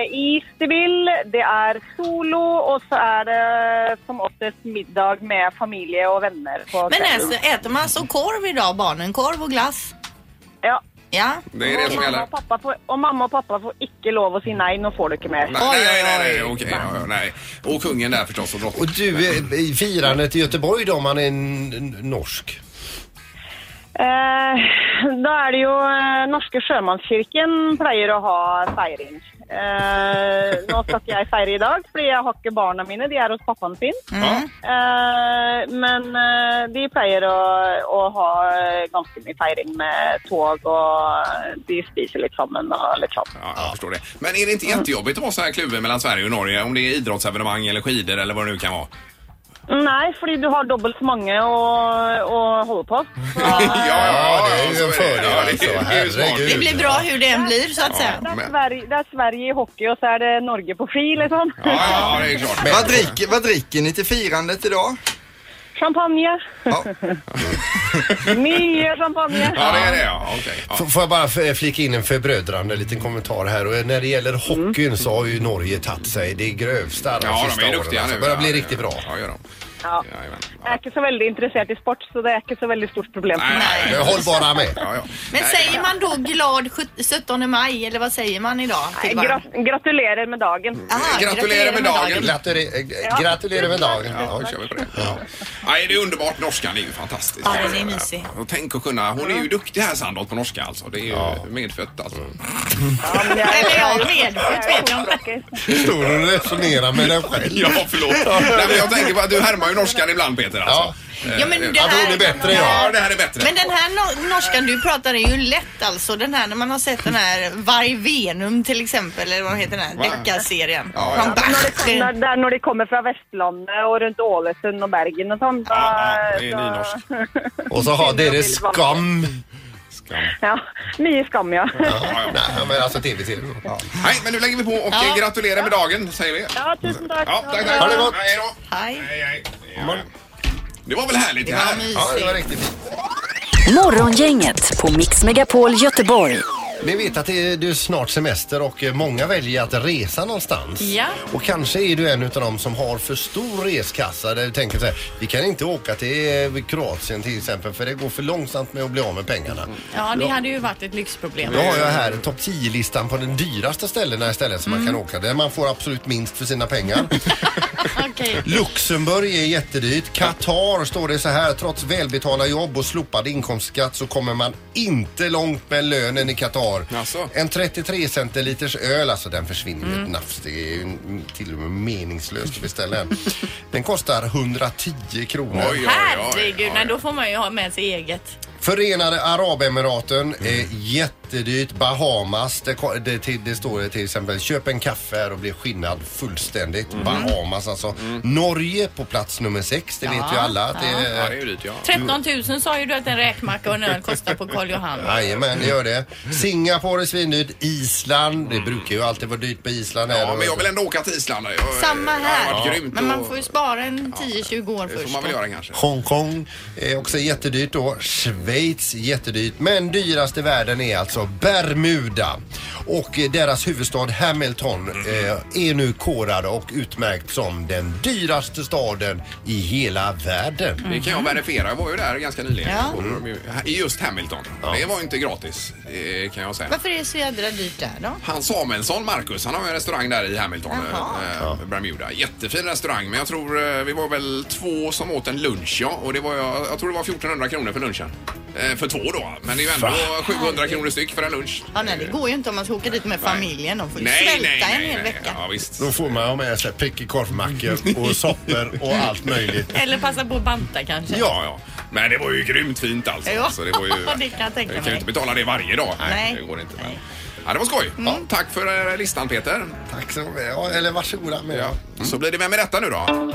Speaker 11: eh, is de vill. Det är solo och så är det som oftast middag med familj och vänner. På
Speaker 4: Men
Speaker 11: kvällen.
Speaker 4: alltså, äter man så korv idag barnen? Korv och glass?
Speaker 11: ja.
Speaker 4: Ja.
Speaker 3: Det är det som
Speaker 11: och, mamma
Speaker 3: gäller.
Speaker 11: och, pappa får, och mamma och pappa får inte lov att säga nej, nu får du inte mer.
Speaker 3: Nej, nej, nej, nej, okej, ja, ja, nej. Och kungen där förstås och drottningen.
Speaker 5: Och du, eh, i firandet i Göteborg då om man är n- n- norsk?
Speaker 11: Eh, da er det jo eh, Norske sjømannskirken pleier å ha feiring. Eh, nå skal ikke jeg feire i dag, fordi jeg har ikke barna mine. De er hos pappaen sin.
Speaker 3: Ja.
Speaker 11: Eh, men eh, de pleier å, å ha ganske mye feiring med tog, og de spiser litt sammen og litt sånn.
Speaker 3: Ja, jag förstår det. Men är det inte jättejobbigt att vara så här kluven mellan Sverige och Norge? Om det är idrottsevenemang eller skidor eller vad det nu kan vara.
Speaker 11: Nei, fordi du har dobbelt så mange å, å holde på.
Speaker 3: Ja, ja,
Speaker 5: det är ju
Speaker 3: så
Speaker 5: en
Speaker 3: det. Ja,
Speaker 5: fördel
Speaker 3: det-
Speaker 5: alltså.
Speaker 3: det är ju smart.
Speaker 5: Herregud.
Speaker 4: Det blir bra hur det än blir så att säga.
Speaker 11: Det er,
Speaker 3: men-
Speaker 11: Sverige, det er Sverige i hockey, og så er det Norge på ski, liksom.
Speaker 3: Ja, ja, ja, det är klart.
Speaker 7: Vad dricker, vad dricker ni till firandet idag?
Speaker 11: Champagne.
Speaker 7: Ja.
Speaker 11: Mye champagne.
Speaker 3: Ja, det är det ja. Okej.
Speaker 5: F- Får jag bara f- eh, flika in en förbrödrande liten kommentar här och eh, när det gäller
Speaker 3: Mm.
Speaker 5: hockeyn så har ju Norge tagit sig det grövsta de
Speaker 3: Ja,
Speaker 5: sista
Speaker 3: de är
Speaker 5: åren.
Speaker 3: duktiga
Speaker 5: alltså.
Speaker 3: nu.
Speaker 5: börjar bli
Speaker 3: Ja,
Speaker 5: riktigt bra.
Speaker 3: Ja, gör de.
Speaker 11: Ja. Jag är inte så väldigt intresserad i sport så det är inte så väldigt stort problem.
Speaker 5: Håll bara med.
Speaker 4: Men säger man då glad sjut- 17 maj eller vad säger man idag? Mm.
Speaker 11: Nej, grat- gratulerar med dagen.
Speaker 3: gratulerar med dagen.
Speaker 5: Gratulera- Gratulerar med dagen.
Speaker 3: Ja, då kör vi på det. Nej, det är underbart. Norskan är ju fantastisk.
Speaker 4: Ja, den är mysig.
Speaker 3: Och tänk att kunna, hon är ju duktig här Sandholt på norska alltså. Det är ju medfött alltså.
Speaker 5: Mm.
Speaker 4: Eller ja, medfött vet jag inte.
Speaker 5: Står och resonerar med dig själv.
Speaker 3: Ja, förlåt. Nej, men jag tänker på att du härmar ju norskan ibland Peter alltså.
Speaker 4: Ja, men det här-
Speaker 3: är bättre ja. det här är bättre.
Speaker 4: Men den här no- norskan du pratar är ju lätt alltså. Den här när man har sett den här Varg Venum till exempel, eller vad heter den
Speaker 11: Va?
Speaker 4: här deckarserien?
Speaker 11: Ja,
Speaker 4: Från
Speaker 11: men liksom-
Speaker 4: Bach.
Speaker 11: När, de, när, där när de kommer från Västlandet och runt Ålesund och Bergen och sånt. då-
Speaker 5: det är
Speaker 11: då-
Speaker 5: Och så har det skam.
Speaker 11: Ja, mycket skam ja.
Speaker 5: Nej, men alltså tv-serie.
Speaker 3: Nej, men nu lägger vi på och
Speaker 11: Ja.
Speaker 3: gratulerar med dagen säger vi.
Speaker 11: Ja, tusen tack.
Speaker 3: Ja, tack, tack.
Speaker 5: Ha det gott.
Speaker 3: Hej då.
Speaker 4: Hej.
Speaker 3: Det var väl härligt det här?
Speaker 5: Ja, det var riktigt fint.
Speaker 1: Morgongänget på Mix Megapol Göteborg.
Speaker 5: Ni vet att det är, det är snart semester och eh, många väljer att resa någonstans.
Speaker 4: Ja.
Speaker 5: Och kanske är du en av dem som har för stor reskassa där du tänker så här, vi kan inte åka till eh, Kroatien till exempel för det går för långsamt med att bli av med pengarna.
Speaker 4: Ja, det hade ju varit ett lyxproblem.
Speaker 5: Då har jag här topp 10-listan på de dyraste ställena istället som man
Speaker 4: Mm.
Speaker 5: kan åka där man får absolut minst för sina pengar.
Speaker 4: Okej.
Speaker 5: Luxemburg är jättedyrt. Qatar står det så här. Trots välbetalda jobb och slopad inkomstskatt så kommer man inte långt med lönen i Qatar. En 33 centiliters öl, alltså den försvinner ju ett nafs. Det är ju mm, till och med meningslöst att beställa en. Den kostar 110 kronor.
Speaker 4: Herregud, nej då får man ju ha med sig eget.
Speaker 5: Förenade Arabemiraten är jättedyrt. Bahamas, det, ko- det, till- det står det till exempel köp en kaffe här och bli skinnad fullständigt.
Speaker 3: Mm.
Speaker 5: Bahamas alltså. Norge på plats nummer sex, det vet ju alla. att
Speaker 4: ja.
Speaker 5: Det,
Speaker 3: Ja, det är ju dyrt ja.
Speaker 4: 13 000 sa ju du att en räkmacka och en öl kostar på Karl Johan.
Speaker 5: Jajamän, det gör det. Singapore är svindyrt. Island, det brukar ju alltid vara dyrt på Island.
Speaker 3: Ja, men jag vill ändå åka till Island. Jag,
Speaker 4: Samma
Speaker 3: Det har
Speaker 4: här.
Speaker 3: varit grymt
Speaker 4: Men man
Speaker 3: och-
Speaker 4: får ju spara en 10-20 år först. då.
Speaker 5: Hongkong är också jättedyrt då. Schweiz jättedyrt. Men dyrast i världen är alltså Bermuda. Och eh, deras huvudstad Hamilton eh, är nu korad och utmärkt som den dyraste staden i hela världen.
Speaker 3: Det kan jag verifiera. Jag var ju där ganska nyligen.
Speaker 4: Mm.
Speaker 3: Mm.
Speaker 4: Ja.
Speaker 3: I just Hamilton. Det var ju inte gratis eh, kan jag säga.
Speaker 4: Varför är det så jädra dyrt där då?
Speaker 3: Han Samuelsson, Marcus, han har ju en restaurang där i Hamilton, eh, eh, Bermuda. Jättefin restaurang, men jag tror eh, vi var väl två som åt en lunch, ja. Och det var, jag, jag tror det var 1400 kronor för lunchen. Eh, för två då, men det är ju ändå
Speaker 4: Va?
Speaker 3: 700 kronor styck för en lunch.
Speaker 4: Ja, nej, det går ju inte om man ska åka dit med familjen. De får ju
Speaker 3: Eh, Nej,
Speaker 4: svälta
Speaker 3: nej, nej,
Speaker 4: en hel
Speaker 3: nej.
Speaker 4: vecka.
Speaker 5: Då får man ha med sig prickig korvmackor och soppor och allt möjligt.
Speaker 4: Eller passa på att banta kanske.
Speaker 3: Ja, ja. Men det var ju grymt fint alltså.
Speaker 4: Ja,
Speaker 3: Så det, var ju,
Speaker 4: det kan jag tänka
Speaker 3: vi kan ju
Speaker 4: mig.
Speaker 3: inte betala det varje dag.
Speaker 4: Nej. Mm.
Speaker 3: Det går inte. Men... Ja, det var skoj. Ja, tack för eh, listan Peter.
Speaker 5: Tack så mycket. Ja, eller varsågoda med
Speaker 3: ja. Så blir det Vem är detta nu då?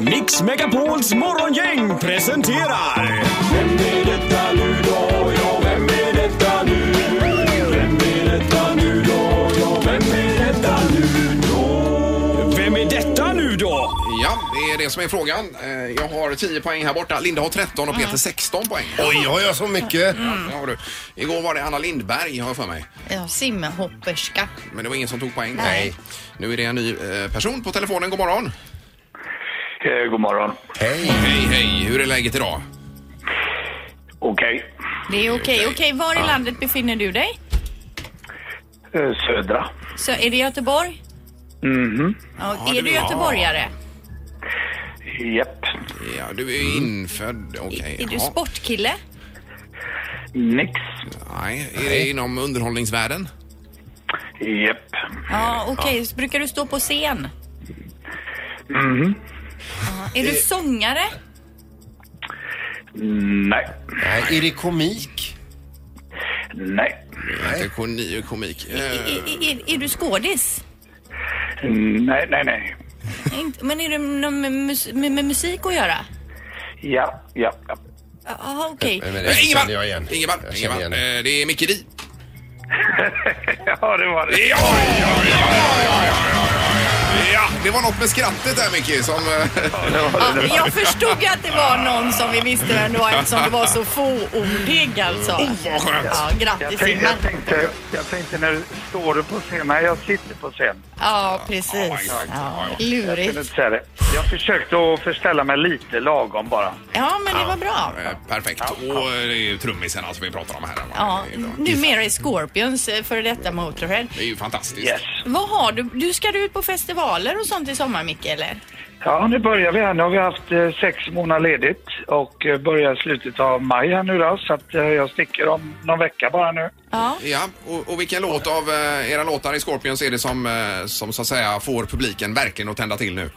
Speaker 12: Mix Megapols morgongäng presenterar... Vem är detta nu då? Ja, vem är detta nu? Vem är detta nu då? Ja, vem är detta nu då? Vem är detta nu då?
Speaker 3: Ja, det är det som är frågan. Eh, Jag har 10 poäng här borta. Linda har 13 och Peter 16 poäng.
Speaker 5: Oj, har jag så mycket?
Speaker 3: Ja, det har du. Igår var det Anna Lindberg, har jag för mig.
Speaker 4: Ja, simhopperska.
Speaker 3: Men det var ingen som tog poäng.
Speaker 4: Nej.
Speaker 3: Nu är det en ny eh, person på telefonen. God morgon.
Speaker 13: Eh, God morgon.
Speaker 5: Hej.
Speaker 3: Hej, hej. Hur är läget idag?
Speaker 13: Okej.
Speaker 4: Det är okej. Okej, var i landet befinner du dig?
Speaker 13: Eh, Södra.
Speaker 4: Så är det Göteborg?
Speaker 13: Mhm.
Speaker 4: Ja,
Speaker 3: Ja,
Speaker 4: är
Speaker 3: du-
Speaker 4: du göteborgare?
Speaker 13: Japp.
Speaker 3: Ja, du är infödd. Okej.
Speaker 4: Är du
Speaker 3: ja.
Speaker 4: sportkille?
Speaker 13: Nix.
Speaker 3: Nej. Är det inom underhållningsvärlden?
Speaker 13: Japp.
Speaker 4: Ja, okej. Så brukar du stå på scen?
Speaker 13: Mhm.
Speaker 4: Ja. Är du sångare?
Speaker 13: Nej.
Speaker 5: Nej. Är det komik?
Speaker 13: Nej.
Speaker 3: Nej. Inte koni- komik.
Speaker 4: I,
Speaker 3: Eh,
Speaker 4: i, är, är du skådis?
Speaker 13: Nej, nej, nej.
Speaker 4: Inte- Men är det någon med, mus- med, med musik att göra?
Speaker 13: Ja, ja, ja.
Speaker 4: Jaha, okej.
Speaker 3: Eh, Ingemar!
Speaker 5: jag igen.
Speaker 3: Ingemar, Ingemar. Eh, det är Micke Di.
Speaker 13: ja, det var det.
Speaker 3: Ja, ja, ja, ja, ja, ja, ja, ja, Ja, det var något med skrattet där Micke som... eh,
Speaker 4: Ja, jag förstod ju att det var någon som vi visste vem det var eftersom det var så fåordig alltså.
Speaker 3: Oh, vad skönt.
Speaker 4: Ja,
Speaker 13: Jag
Speaker 4: grattis
Speaker 13: tänkte,
Speaker 4: Ingmar.
Speaker 13: jag, tänkte, jag tänkte när du står du på scen, när jag sitter på scen.
Speaker 4: Ja, precis. Ja,
Speaker 13: Jag kunde
Speaker 4: lurigt.
Speaker 13: inte säga det. Jag försökte att förställa mig lite lagom bara.
Speaker 4: Ja, men det var bra.
Speaker 3: Eh, Perfekt. Och eh, det är ju trummisen alltså vi pratar om här.
Speaker 4: Ja, numera är Scorpions eh, före detta Motorhead.
Speaker 3: Det är ju fantastiskt. Yes.
Speaker 4: Vad har du? Du ska du ut på festivaler och sånt i sommar, Micke, eller?
Speaker 13: Ja, nu börjar vi här. Nu har vi haft eh, sex månader ledigt och eh, börjar i slutet av maj här nu då. Så att eh, jag sticker om någon vecka bara nu.
Speaker 4: Ja.
Speaker 3: och, och vilken låt av eh, era låtar i Scorpions är det som, eh, som så att säga får publiken verkligen att tända till nu?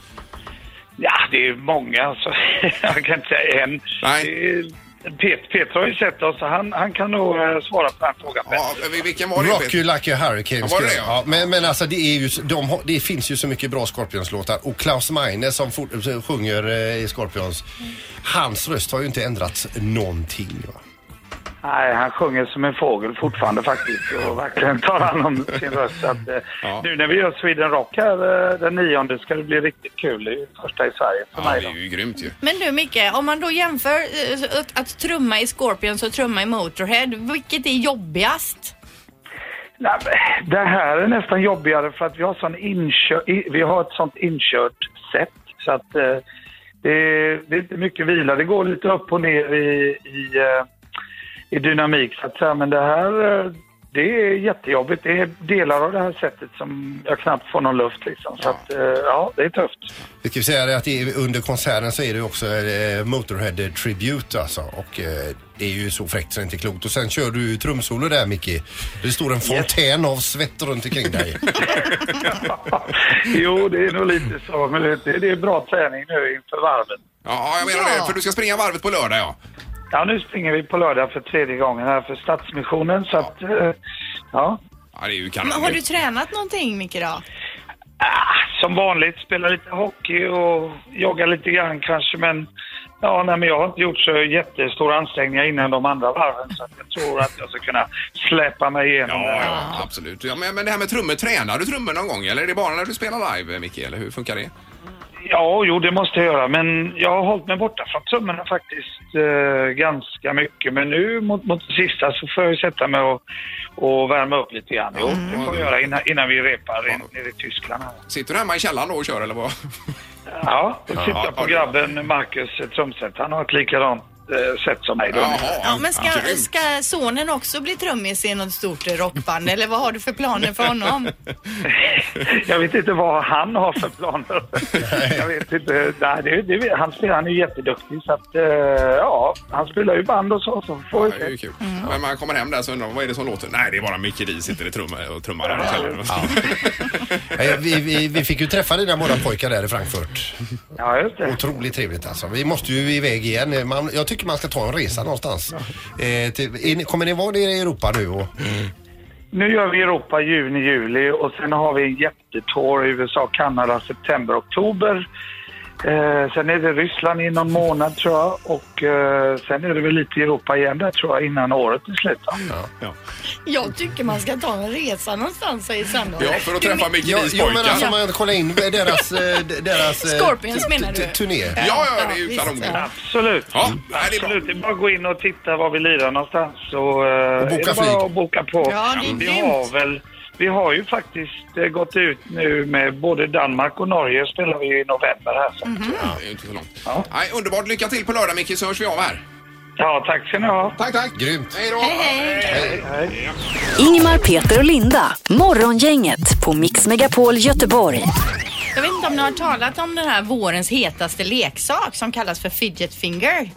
Speaker 13: Ja, det är många så jag kan inte säga en. Nej. Pet, Peter har ju sett oss så han, han kan nog eh, svara på den frågan
Speaker 3: Ja, vilken
Speaker 5: Rock you like a hurricane.
Speaker 13: Ja, var det
Speaker 5: skrev-
Speaker 13: det, ja?
Speaker 5: ja, men, men alltså det, är ju, de, har- det finns ju så mycket bra Scorpions-låtar och Klaus Meine som fort, sjunger eh, i Scorpions, hans röst har ju inte ändrats någonting. Va?
Speaker 13: Nej, han sjunger som en fågel fortfarande faktiskt och verkligen tar hand om sin röst. Så Att, eh, Nu när vi gör Sweden Rock här eh, den nionde ska det bli riktigt kul. Det är ju första i Sverige för mig.
Speaker 3: Det är ju grymt ju.
Speaker 4: Men du Micke, om man då jämför eh, att, att trumma i Scorpions och trumma i Motorhead, vilket är jobbigast?
Speaker 13: Nej, men det här är nästan jobbigare för att vi har, sån inkör, i- vi har ett sånt inkört sätt. Så att eh, det, är, det är inte mycket vila. Det går lite upp och ner i, i, eh, i dynamik så att säga. Men det här, eh, det är jättejobbigt. Det är delar av det här sättet som jag knappt får någon luft liksom. Så att, eh, ja, det är tufft.
Speaker 5: Vi ska ju säga det att det är, under konserten så är det ju också eh, Motorhead Tribute alltså och eh, det är ju så fräckt så det är inte klokt. Och sen kör du ju trumsolo där Micke. Det står en fontän av svett runt omkring dig.
Speaker 13: Jo, det är nog lite så. Men det, det är bra träning nu inför varvet.
Speaker 3: Ja, jag menar det. För du ska springa varvet på lördag ja.
Speaker 13: Ja, nu springer vi på lördag för tredje gången här för Stadsmissionen. Så att, eh, ja.
Speaker 3: Ja, det är ju
Speaker 4: Men har du tränat någonting Micke då?
Speaker 13: Som vanligt, spela lite hockey och jogga lite grann kanske. Men, ja, nej, men jag har inte gjort så jättestora ansträngningar innan de andra varven. Så att jag tror att jag ska kunna släpa mig igenom det här.
Speaker 3: Ja, absolut. Ja, men, men det här med trummor, tränar du trummor någon gång eller är det bara när du spelar live, eh, Micke? Eller hur funkar det?
Speaker 13: Ja, jo, det måste jag göra. Men jag har hållit mig borta från trummorna faktiskt eh, ganska mycket. Men nu mot, mot det sista så får jag ju sätta mig och, och värma upp lite grann. Jo,
Speaker 3: Mm.
Speaker 13: det får jag göra innan, innan vi repar in, nere i Tyskland. här.
Speaker 3: Sitter du hemma i källaren då och kör eller vad?
Speaker 13: Ja, då tittar
Speaker 3: Ja,
Speaker 13: jag på grabben Marcus eh, Trumset. Han har ett likadant eh, sätt som mig. Då.
Speaker 4: Ja, men ska, ska sonen också bli trummis i något stort rockband eller vad har du för planer för honom?
Speaker 13: Jag vet inte vad han har för planer. Jag vet inte. Nej, det, det, han, spelar, han är ju jätteduktig så att, eh, ja, han spelar ju band och så. så får vi
Speaker 3: Det är ju
Speaker 13: se.
Speaker 3: kul.
Speaker 4: Mm.
Speaker 3: Men man kommer hem där så undrar man, vad är det som låter? Nej, det är bara Micke Dee sitter i trummor och trummar där i källaren.
Speaker 5: Eh, vi, vi, vi fick ju träffa dina båda pojkar där i Frankfurt.
Speaker 13: Ja, just det.
Speaker 5: Otroligt trevligt alltså. Vi måste ju iväg igen. Man, jag tycker man ska ta en resa någonstans. Eh, till, är ni- kommer ni vara nere i Europa nu? Och,
Speaker 13: Nu gör vi Europa juni, juli och sen har vi en jättetour i USA, Kanada, september, oktober. Eh, sen är det Ryssland i någon månad tror jag och eh, sen är det väl lite Europa igen där tror jag innan året är slut. va?
Speaker 4: Jag tycker man ska ta en resa någonstans säger Sandor.
Speaker 5: ja, ja, men alltså man kollar in deras... eh, d- deras eh,
Speaker 4: Scorpions
Speaker 5: t-
Speaker 4: menar du?
Speaker 5: t- Turné.
Speaker 4: Ja, ja, det är ju Ja, kanon. visst, ja.
Speaker 13: Absolut. Mm. Absolut. Det är bara att gå in och titta var vi lirar någonstans och, eh,
Speaker 5: Och boka
Speaker 13: är det
Speaker 5: flyg.
Speaker 13: bara att boka på.
Speaker 5: Ja, det är
Speaker 13: vi
Speaker 5: grymt.
Speaker 13: har väl vi har ju faktiskt eh, gått ut nu med både Danmark och Norge spelar vi ju i november här. Så.
Speaker 5: Mhm.
Speaker 3: Ja, det är ju inte så långt. Nej, underbart. Lycka till på lördag Micke så hörs vi av här.
Speaker 13: Ja, tack ska ni ha.
Speaker 3: Tack, tack.
Speaker 5: Grymt.
Speaker 3: Hej då.
Speaker 1: Ingmar, Peter och Linda. Morgongänget på Mix Megapol Göteborg.
Speaker 4: Jag vet inte om ni har talat om den här vårens hetaste leksak som kallas för fidget finger.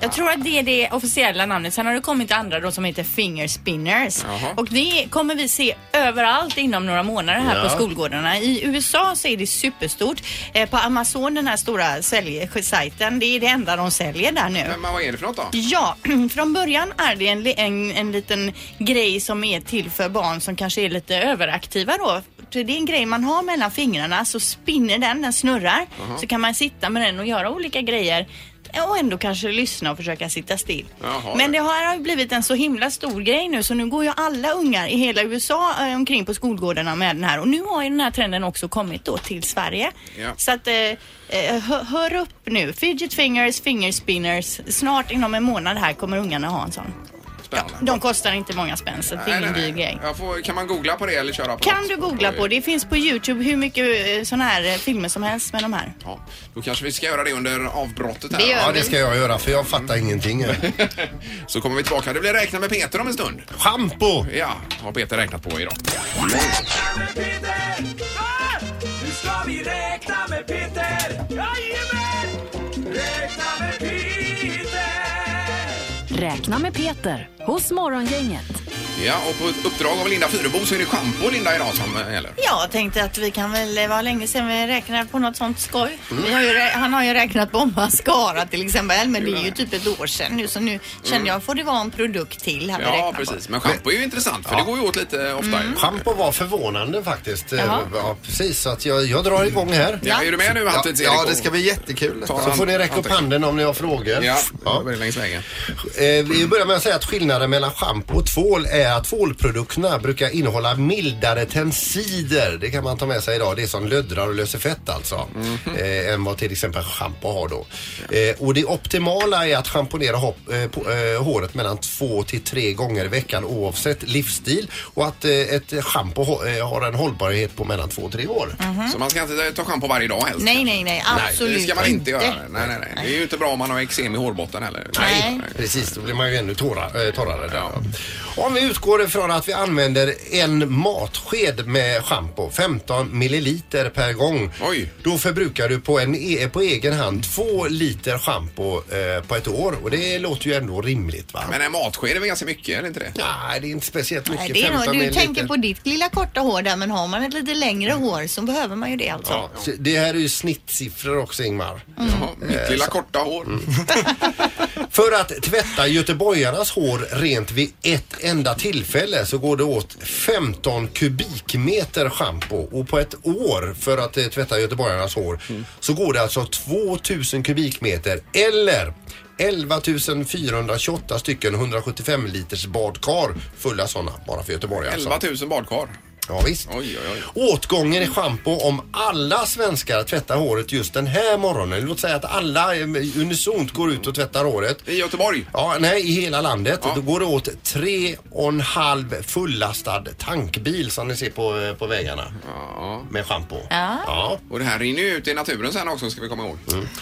Speaker 4: Jag tror att det är det officiella namnet. Sen har det kommit andra då som heter finger spinners.
Speaker 14: Jaha.
Speaker 4: Och det kommer vi se överallt inom några månader här
Speaker 14: Ja.
Speaker 4: på skolgårdarna. I USA så är det superstort. Eh, på Amazon, den här stora säljsajten, det är det enda de säljer där nu.
Speaker 3: Men vad är det för något då?
Speaker 4: Ja, från början är det en, li- en, en liten grej som är till för barn som kanske är lite överaktiva då. Det är en grej man har mellan fingrarna så spinner den, den snurrar.
Speaker 14: Aha.
Speaker 4: Så kan man sitta med den och göra olika grejer. och ändå kanske lyssna och försöka sitta still.
Speaker 3: Jaha.
Speaker 4: Men det här har ju blivit en så himla stor grej nu så nu går ju alla ungar i hela USA eh, omkring på skolgårdarna med den här och nu har ju den här trenden också kommit då till Sverige.
Speaker 3: Ja.
Speaker 4: Så att eh, eh, hö- hör upp nu, fidget fingers, finger spinners. Snart inom en månad här kommer ungarna ha en sån.
Speaker 3: Spännande.
Speaker 4: De kostar inte många spänn så det är ingen dyr grej.
Speaker 3: Jag får, kan man googla på det eller köra på
Speaker 4: Kan
Speaker 3: något?
Speaker 4: du googla på, det finns på Youtube hur mycket sådana här eh, filmer som helst med de här.
Speaker 3: Ja, då kanske vi ska göra det under avbrottet här.
Speaker 4: Det gör
Speaker 5: Ja, det ska jag göra för jag fattar ingenting.
Speaker 3: Så kommer vi tillbaka. Det blir räkna med Peter om en stund.
Speaker 5: Schampo!
Speaker 3: Ja, har Peter räknat på idag.
Speaker 12: Nu ska vi räkna med Peter! Jajamän! Räkna med Peter!
Speaker 1: Räkna med Peter hos Morgongänget.
Speaker 3: Ja, och på uppdrag av Linda Fyrebo så är det schampo Linda idag som eh, gäller.
Speaker 4: Ja, Jag tänkte att vi kan väl, det var länge sedan vi räknade på något sånt skoj.
Speaker 3: Mm.
Speaker 4: Vi har ju, rä- han har ju räknat på mascara till exempel, men det är ju typ ett år sedan nu så nu känner jag, får det vara en produkt till här vi
Speaker 3: Mm.
Speaker 4: Mm.
Speaker 3: Ja,
Speaker 4: räknar
Speaker 3: precis. Men schampo är ju intressant för det går ju åt lite eh, ofta. ju.
Speaker 5: Schampo var förvånande faktiskt. Eh,
Speaker 3: Jaha.
Speaker 5: Ja, precis, så att jag, jag drar igång här.
Speaker 3: Ja, är du med nu, Halvtids, Erik?
Speaker 7: Ja, det ska bli jättekul.
Speaker 5: Så får ni räcka upp handen om ni har frågor.
Speaker 3: Ja, det är längs vägen.
Speaker 5: Eh, Vi börjar med att säga att skillnaden mellan schampo och tvål är att tvålprodukterna brukar innehålla mildare tensider. Det kan man ta med sig idag. Det är som löddrar och löser fett alltså.
Speaker 3: Mhm.
Speaker 5: Eh, än vad till exempel schampo har då. Eh, och det optimala är att schamponera hopp, eh, på, eh, håret mellan två till tre gånger i veckan oavsett livsstil. Och att eh, ett schampo ho- eh, har en hållbarhet på mellan två och tre år.
Speaker 3: Mhm. Så man ska inte ta schampo varje dag helst?
Speaker 4: Nej, nej, nej, absolut
Speaker 3: det ska man inte
Speaker 4: inte.
Speaker 3: göra. Nej, nej, nej. Det är ju inte bra om man har eksem i hårbotten heller.
Speaker 4: Nej.
Speaker 5: Precis, då blir man ju ännu torra, eh, torrare där. Om vi utgår ifrån att vi använder en matsked med schampo, 15 milliliter per gång. Då förbrukar du på, en e på egen hand två liter schampo eh, på ett år och det låter ju ändå rimligt va?
Speaker 3: Men en matsked är väl ganska mycket, eller inte det?
Speaker 5: Nej, det är inte speciellt
Speaker 4: Nej, det är nog, du tänker på ditt lilla korta hår där men har man ett lite längre hår så behöver man ju det alltså.
Speaker 5: Ja, så det här är ju snittsiffror också Ingmar. Eh, Mm.
Speaker 4: Mm. Jaha,
Speaker 3: mitt lilla korta hår.
Speaker 5: För att tvätta göteborgarnas hår rent vid ett enda tillfälle så går det åt 15 kubikmeter schampo och på ett år för att eh, tvätta göteborgarnas hår
Speaker 4: Mm.
Speaker 5: så går det alltså 2000 kubikmeter eller 11 428 stycken 175 liters badkar fulla sådana bara för Göteborg alltså.
Speaker 3: 11 000 badkar.
Speaker 5: Ja, visst.
Speaker 3: Oj, oj, oj.
Speaker 5: Åtgången i schampo om alla svenskar tvättar håret just den här morgonen. Låt säga att alla eh, unisont går ut och tvättar håret.
Speaker 3: I Göteborg?
Speaker 5: Ja, nej, i hela landet. Då går det åt tre och en halv fullastad tankbil som ni ser på, eh, på vägarna. Med schampo.
Speaker 3: Ja.
Speaker 5: Ja. Mm.
Speaker 3: Och det här rinner ju ut i naturen sen också ska vi komma ihåg.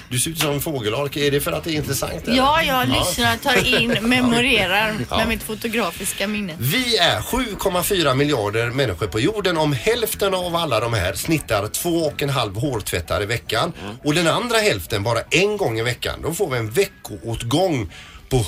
Speaker 5: Du ser ut som en fågelholk. Är det för att det är intressant? eller?
Speaker 4: Ja, jag lyssnar, tar in, memorerar
Speaker 5: Ja.
Speaker 4: med mitt fotografiska minne.
Speaker 5: Vi är 7,4 miljarder människor på jorden. Om hälften av alla de här snittar två och en halv hårtvättar i veckan och den andra hälften bara en gång i veckan, då får vi en veckoåtgång på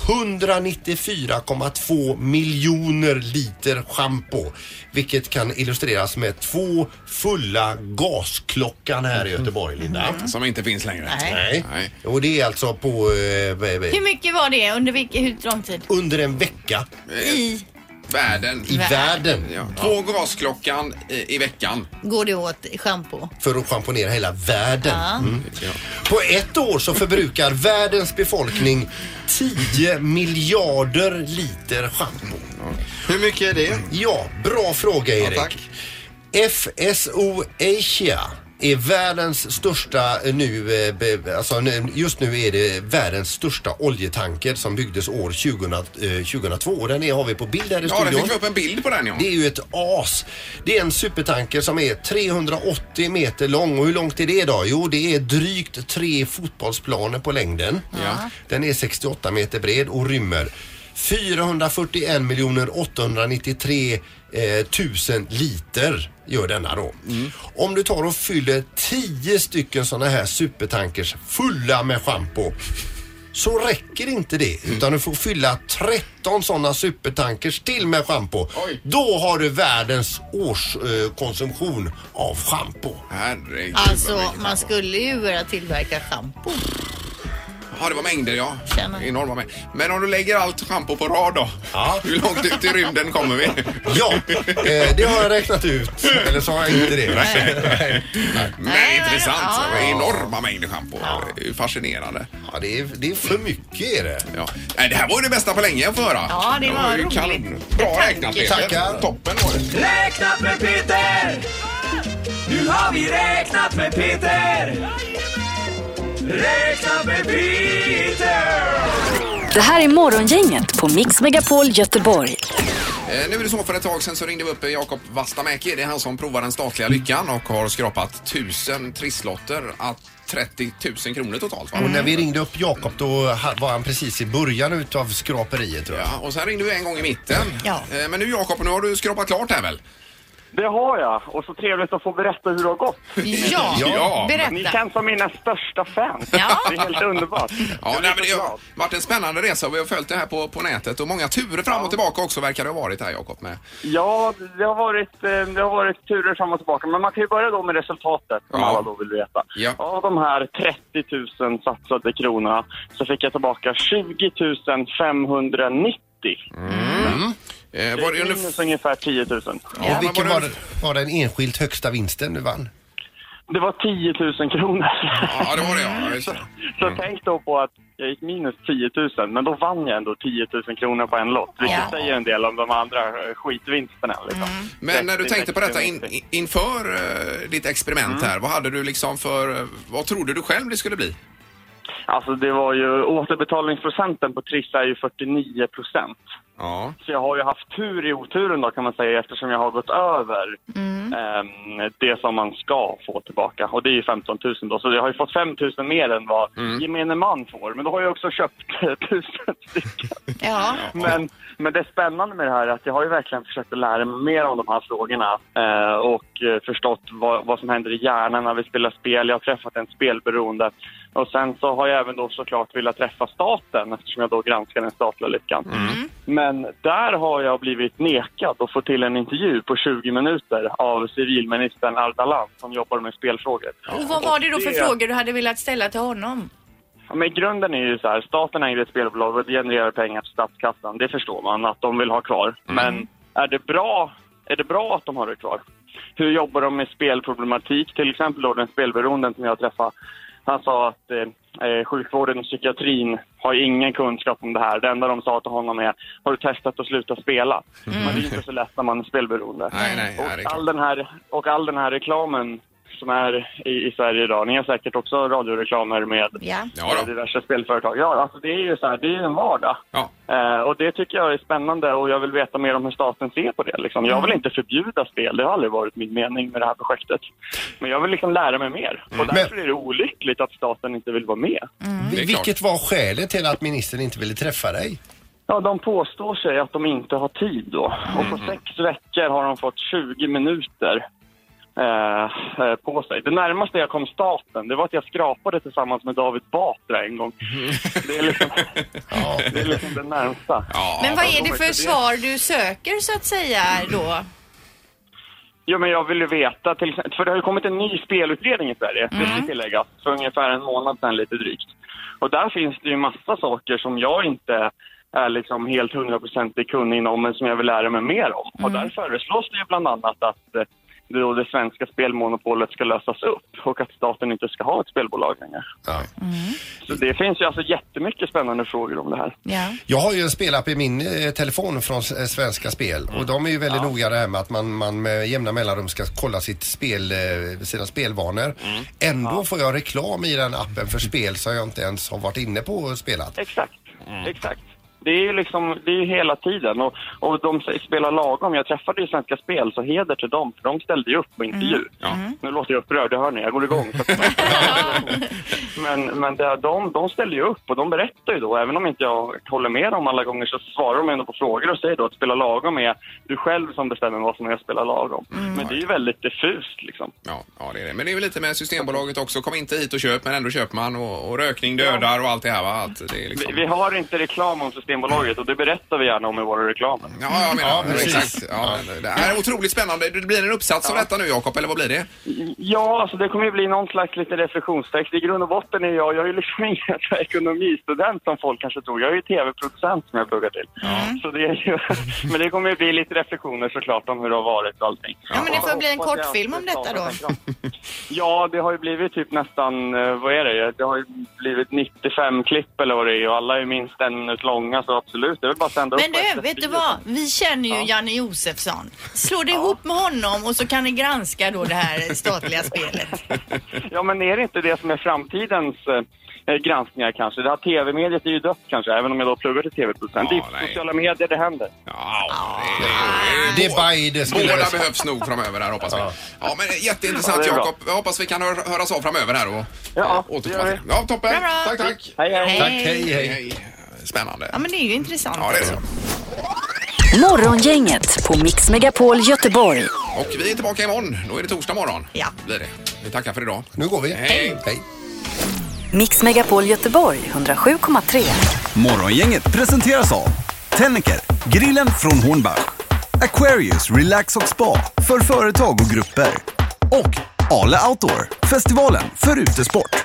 Speaker 5: 194,2 miljoner liter schampo. Vilket kan illustreras med två fulla gasklockan här i Göteborg, Linda.
Speaker 3: Som inte finns längre.
Speaker 5: Nej. Och det är alltså på... Eh,
Speaker 4: Hur mycket var det under vilken, hur lång tid?
Speaker 5: under en vecka.
Speaker 4: I
Speaker 3: Eh, Världen.
Speaker 5: I världen.
Speaker 3: Ja. Två gasklockan i, i veckan.
Speaker 4: går det åt schampo?
Speaker 5: för att schamponera hela världen.
Speaker 4: Ja.
Speaker 5: Mm. På ett år så förbrukar världens befolkning 10 miljarder liter schampo.
Speaker 7: Hur mycket är det?
Speaker 5: Ja, bra fråga Erik. FSO Asia är världens största eh, nu, eh, be- alltså nu- just nu är det världens största oljetanker som byggdes år 2000, eh, 2002 och den är, har vi på bild här i
Speaker 3: Ja,
Speaker 5: studion.
Speaker 3: det fick vi upp en bild på den ja.
Speaker 5: Det är ju ett as. Det är en supertanker som är 380 meter lång. Och hur långt är det då? Jo, det är drygt tre fotbollsplaner på längden.
Speaker 3: Ja.
Speaker 5: Den är 68 meter bred och rymmer 441 miljoner 893 eh, tusen liter gör denna då.
Speaker 3: Mm.
Speaker 5: Om du tar och fyller 10 stycken sådana här supertankers fulla med schampo så räcker inte det
Speaker 3: Mm.
Speaker 5: utan du får fylla 13 sådana supertankers till med schampo. Då har du världens årskonsumtion av schampo.
Speaker 3: Herregud.
Speaker 4: Alltså, man skulle ju börja tillverka schampo.
Speaker 3: Ja, det var mängder ja. Enorma mängder. Men om du lägger allt schampo på rad då? Hur långt ut i rymden kommer vi?
Speaker 5: Ja, eh, det har jag räknat ut. Eller så har jag inte det.
Speaker 3: Nej. Men intressant. Det var Enorma mängder schampo. Det är ju Fascinerande.
Speaker 5: Ja, det är, det är för mycket är det.
Speaker 3: Ja. Nej, Det här var ju det bästa på länge att få höra.
Speaker 4: Ja, det var
Speaker 3: ju
Speaker 4: roligt.
Speaker 3: kanon. Bra räknat Peter.
Speaker 5: Tackar.
Speaker 3: Toppen var det.
Speaker 12: Räknat med Peter! Nu har vi räknat med Peter! Räknat med Peter!
Speaker 1: Det här är Morgongänget på Mix Megapol Göteborg.
Speaker 3: Eh, Nu är det så för ett tag sedan så ringde vi upp eh, Jakob Vastamäki. Det är han som provar den statliga lyckan och har skrapat tusen trisslotter att 30 000 kronor totalt. Va?
Speaker 5: Och när vi ringde upp Jakob då ha- var han precis i början utav skraperiet tror jag.
Speaker 3: Ja, och sen ringde du en gång i mitten. Eh, Men nu Jakob, nu har du skrapat klart här väl?
Speaker 14: Det har jag. Och så trevligt att få berätta hur det har gått.
Speaker 3: Ja, Ja. berätta.
Speaker 14: Ni känns som mina största fans. Det är helt underbart.
Speaker 3: Ja, nej, men det har varit en spännande resa och vi har följt det här på, på nätet och många turer fram och tillbaka också verkar det ha varit här Jakob. Med.
Speaker 14: Ja, det har, varit, eh, det har varit turer fram och tillbaka. Men man kan ju börja då med resultatet, som alla då vill veta.
Speaker 3: Ja.
Speaker 14: Av de här 30 000 satsade kronorna så fick jag tillbaka 20 590.
Speaker 3: Mm. Eh,
Speaker 14: var det minus ungefär 10 000.
Speaker 5: Och vilken var, det- var den enskilt högsta vinsten du vann?
Speaker 14: Det var 10 000 kronor.
Speaker 3: Ja, det var det Mm. ja. Så,
Speaker 14: så tänk då på att jag gick minus 10 000, men då vann jag ändå 10 000 kronor på en lott. Vilket
Speaker 3: Ja.
Speaker 14: säger en del om de andra eh, skitvinsterna. Liksom.
Speaker 3: Men när du
Speaker 14: 30,
Speaker 3: tänkte på detta
Speaker 14: 60,
Speaker 3: in, in- inför eh, ditt
Speaker 14: Mm.
Speaker 3: experiment här, vad hade du liksom för, eh, vad trodde du själv det skulle bli?
Speaker 14: Alltså det var ju, återbetalningsprocenten på Triss är ju 49 procent. Så jag har ju haft tur i oturen då kan man säga eftersom jag har gått över ehm, det som man ska få tillbaka. Och det är ju 15 000 då, så jag har ju fått 5 000 mer än vad gemene man får. Men då har jag också köpt 1000
Speaker 4: Ja.
Speaker 14: men, men det spännande med det här är att jag har ju verkligen försökt att lära mig mer om de här frågorna eh, och eh, förstått vad, vad som händer i hjärnan när vi spelar spel. Jag har träffat en spelberoende och sen så har jag även då såklart velat träffa staten eftersom jag då granskar den statliga lyckan.
Speaker 4: Mm.
Speaker 14: Men där har jag blivit nekad att få till en intervju på 20 minuter av civilministern Ardalan som jobbar med spelfrågor.
Speaker 4: Och vad var det då för
Speaker 14: det-
Speaker 4: frågor du hade velat ställa till honom?
Speaker 14: Ja, men grunden är ju så här, staten äger ett spelbolag och det genererar pengar till statskassan. Det förstår man att de vill ha kvar. Men är det bra, är det bra att de har det kvar? Hur jobbar de med spelproblematik? Till exempel då den spelberoenden som jag träffade. Han sa att eh, eh, sjukvården och psykiatrin har ingen kunskap om det här. Det enda de sa till honom är, har du testat att sluta spela? Men det är inte så lätt när man är spelberoende. och, all den här, och all den här reklamen som är i, i Sverige idag, ni har säkert också radioreklamer med
Speaker 4: Ja.
Speaker 14: Ja, Eh, diverse spelföretag. Ja, alltså det är ju så här, det är ju en vardag. Eh, och det tycker jag är spännande och jag vill veta mer om hur staten ser på det. Liksom. Jag vill inte förbjuda spel, det har aldrig varit min mening med det här projektet. Men jag vill liksom lära mig mer. Och därför är det olyckligt att staten inte vill vara med.
Speaker 5: Vi- Mm. Vilket var skälet till att ministern inte ville träffa dig?
Speaker 14: Ja, de påstår sig att de inte har tid då.
Speaker 5: Mm.
Speaker 14: Och på sex veckor har de fått 20 minuter eh, eh, på sig. Det närmaste jag kom staten, det var att jag skrapade tillsammans med David Batra en gång. Det är liksom, det, är liksom det närmsta.
Speaker 4: Men vad är det för svar du söker så att säga då?
Speaker 14: Jo, men jag vill ju veta, till, exempel- för det har ju kommit en ny spelutredning i Sverige, det ska tilläggas, för ungefär en månad sedan lite drygt. Och där finns det ju massa saker som jag inte är liksom helt hundraprocentig kunnig inom, men som jag vill lära mig mer om. Och där föreslås det ju bland annat att eh, det, då det svenska spelmonopolet ska lösas upp och att staten inte ska ha ett spelbolag längre. Så det finns ju alltså jättemycket spännande frågor om det här.
Speaker 5: Jag har ju en spelapp i min eh, telefon från S- eh, Svenska Spel och de är ju väldigt noga det här med att man, man med jämna mellanrum ska kolla sitt spel, eh, sina spelvanor.
Speaker 7: Mm.
Speaker 5: Ändå får jag reklam i den appen för spel som jag inte ens har varit inne på och spelat.
Speaker 14: Exakt.
Speaker 3: Mm.
Speaker 14: Exakt. Det är ju liksom, det är ju hela tiden och, och de spelar lagom. Jag träffade ju Svenska Spel, så heder till dem, för de ställde ju upp på intervju.
Speaker 13: Mm.
Speaker 3: Mm.
Speaker 14: Nu låter jag upprörd, det hör ni, jag går igång. men men det, de, de ställde ju upp och de berättar ju då, även om inte jag håller med dem alla gånger så svarar de ändå på frågor och säger då att spela lagom är du själv som bestämmer vad som är att spela lagom. Men det är ju väldigt diffust liksom.
Speaker 3: Mm. Ja, ja, det är det. Men det är väl lite med Systembolaget också. Kom inte hit och köp, men ändå köper man. Och, och rökning dödar och allt det här va? Att det är liksom...
Speaker 14: Vi, vi har inte reklam om Systembolaget och det berättar vi gärna om i våra reklamer.
Speaker 3: Ja, jag menar,
Speaker 14: Ja, precis.
Speaker 3: exakt. Ja, det här är otroligt spännande. Det blir en uppsats av detta nu, Jakob, eller vad blir det?
Speaker 14: Ja, alltså det kommer ju bli någon slags liten reflektionstext. I grund och botten är jag, jag är ju liksom ingen så här ekonomistudent som folk kanske tror. Jag är ju tv-producent som jag pluggar till. Så det är ju, men det kommer ju bli lite reflektioner såklart om hur det har varit och allting.
Speaker 4: Ja, men det får bli en kortfilm om detta då.
Speaker 14: Ja, det har ju blivit typ nästan, eh, vad är det? Det har ju blivit 95 klipp eller vad det är och alla är minst en minut långa så absolut, det är väl bara att sända
Speaker 4: Men
Speaker 14: upp på
Speaker 4: du, vet du vad? Vi känner ju Janne Josefsson. Slå dig ihop med honom och så kan ni granska då det här statliga spelet.
Speaker 14: Ja, men är det inte det som är framtidens eh, granskningar kanske? Det här tv-mediet är ju dött kanske, även om jag då pluggar till tv-producent. det är på sociala medier det händer.
Speaker 5: Det är Biden skulle jag
Speaker 3: Eh, Båda
Speaker 5: säga.
Speaker 3: behövs nog framöver här, hoppas vi. Ja, men eh, jätteintressant,
Speaker 5: Ja, det är bra.
Speaker 3: Jakob. Jag hoppas vi kan hör, höras av framöver här och eh,
Speaker 14: ja,
Speaker 3: återkomma till. Ja, toppen.
Speaker 4: Bra, bra.
Speaker 3: Tack, tack.
Speaker 14: Hej,
Speaker 4: hej.
Speaker 3: Tack,
Speaker 4: Hej.
Speaker 3: hej, hej. Spännande.
Speaker 4: Ja, men det är ju intressant.
Speaker 3: Ja, det är så.
Speaker 1: Morgongänget på Mix Megapol Göteborg.
Speaker 3: Och vi är tillbaka imorgon. Då är det torsdag morgon.
Speaker 4: Ja.
Speaker 3: Blir det. Vi tackar för idag.
Speaker 5: Nu går vi.
Speaker 3: Hej.
Speaker 5: Hej.
Speaker 1: Mix Megapol Göteborg 107,3.
Speaker 2: Morgongänget presenteras av Tennicker, grillen från Hornbach, Aquarius Relax och Spa för företag och grupper och Ale Outdoor, festivalen för utesport.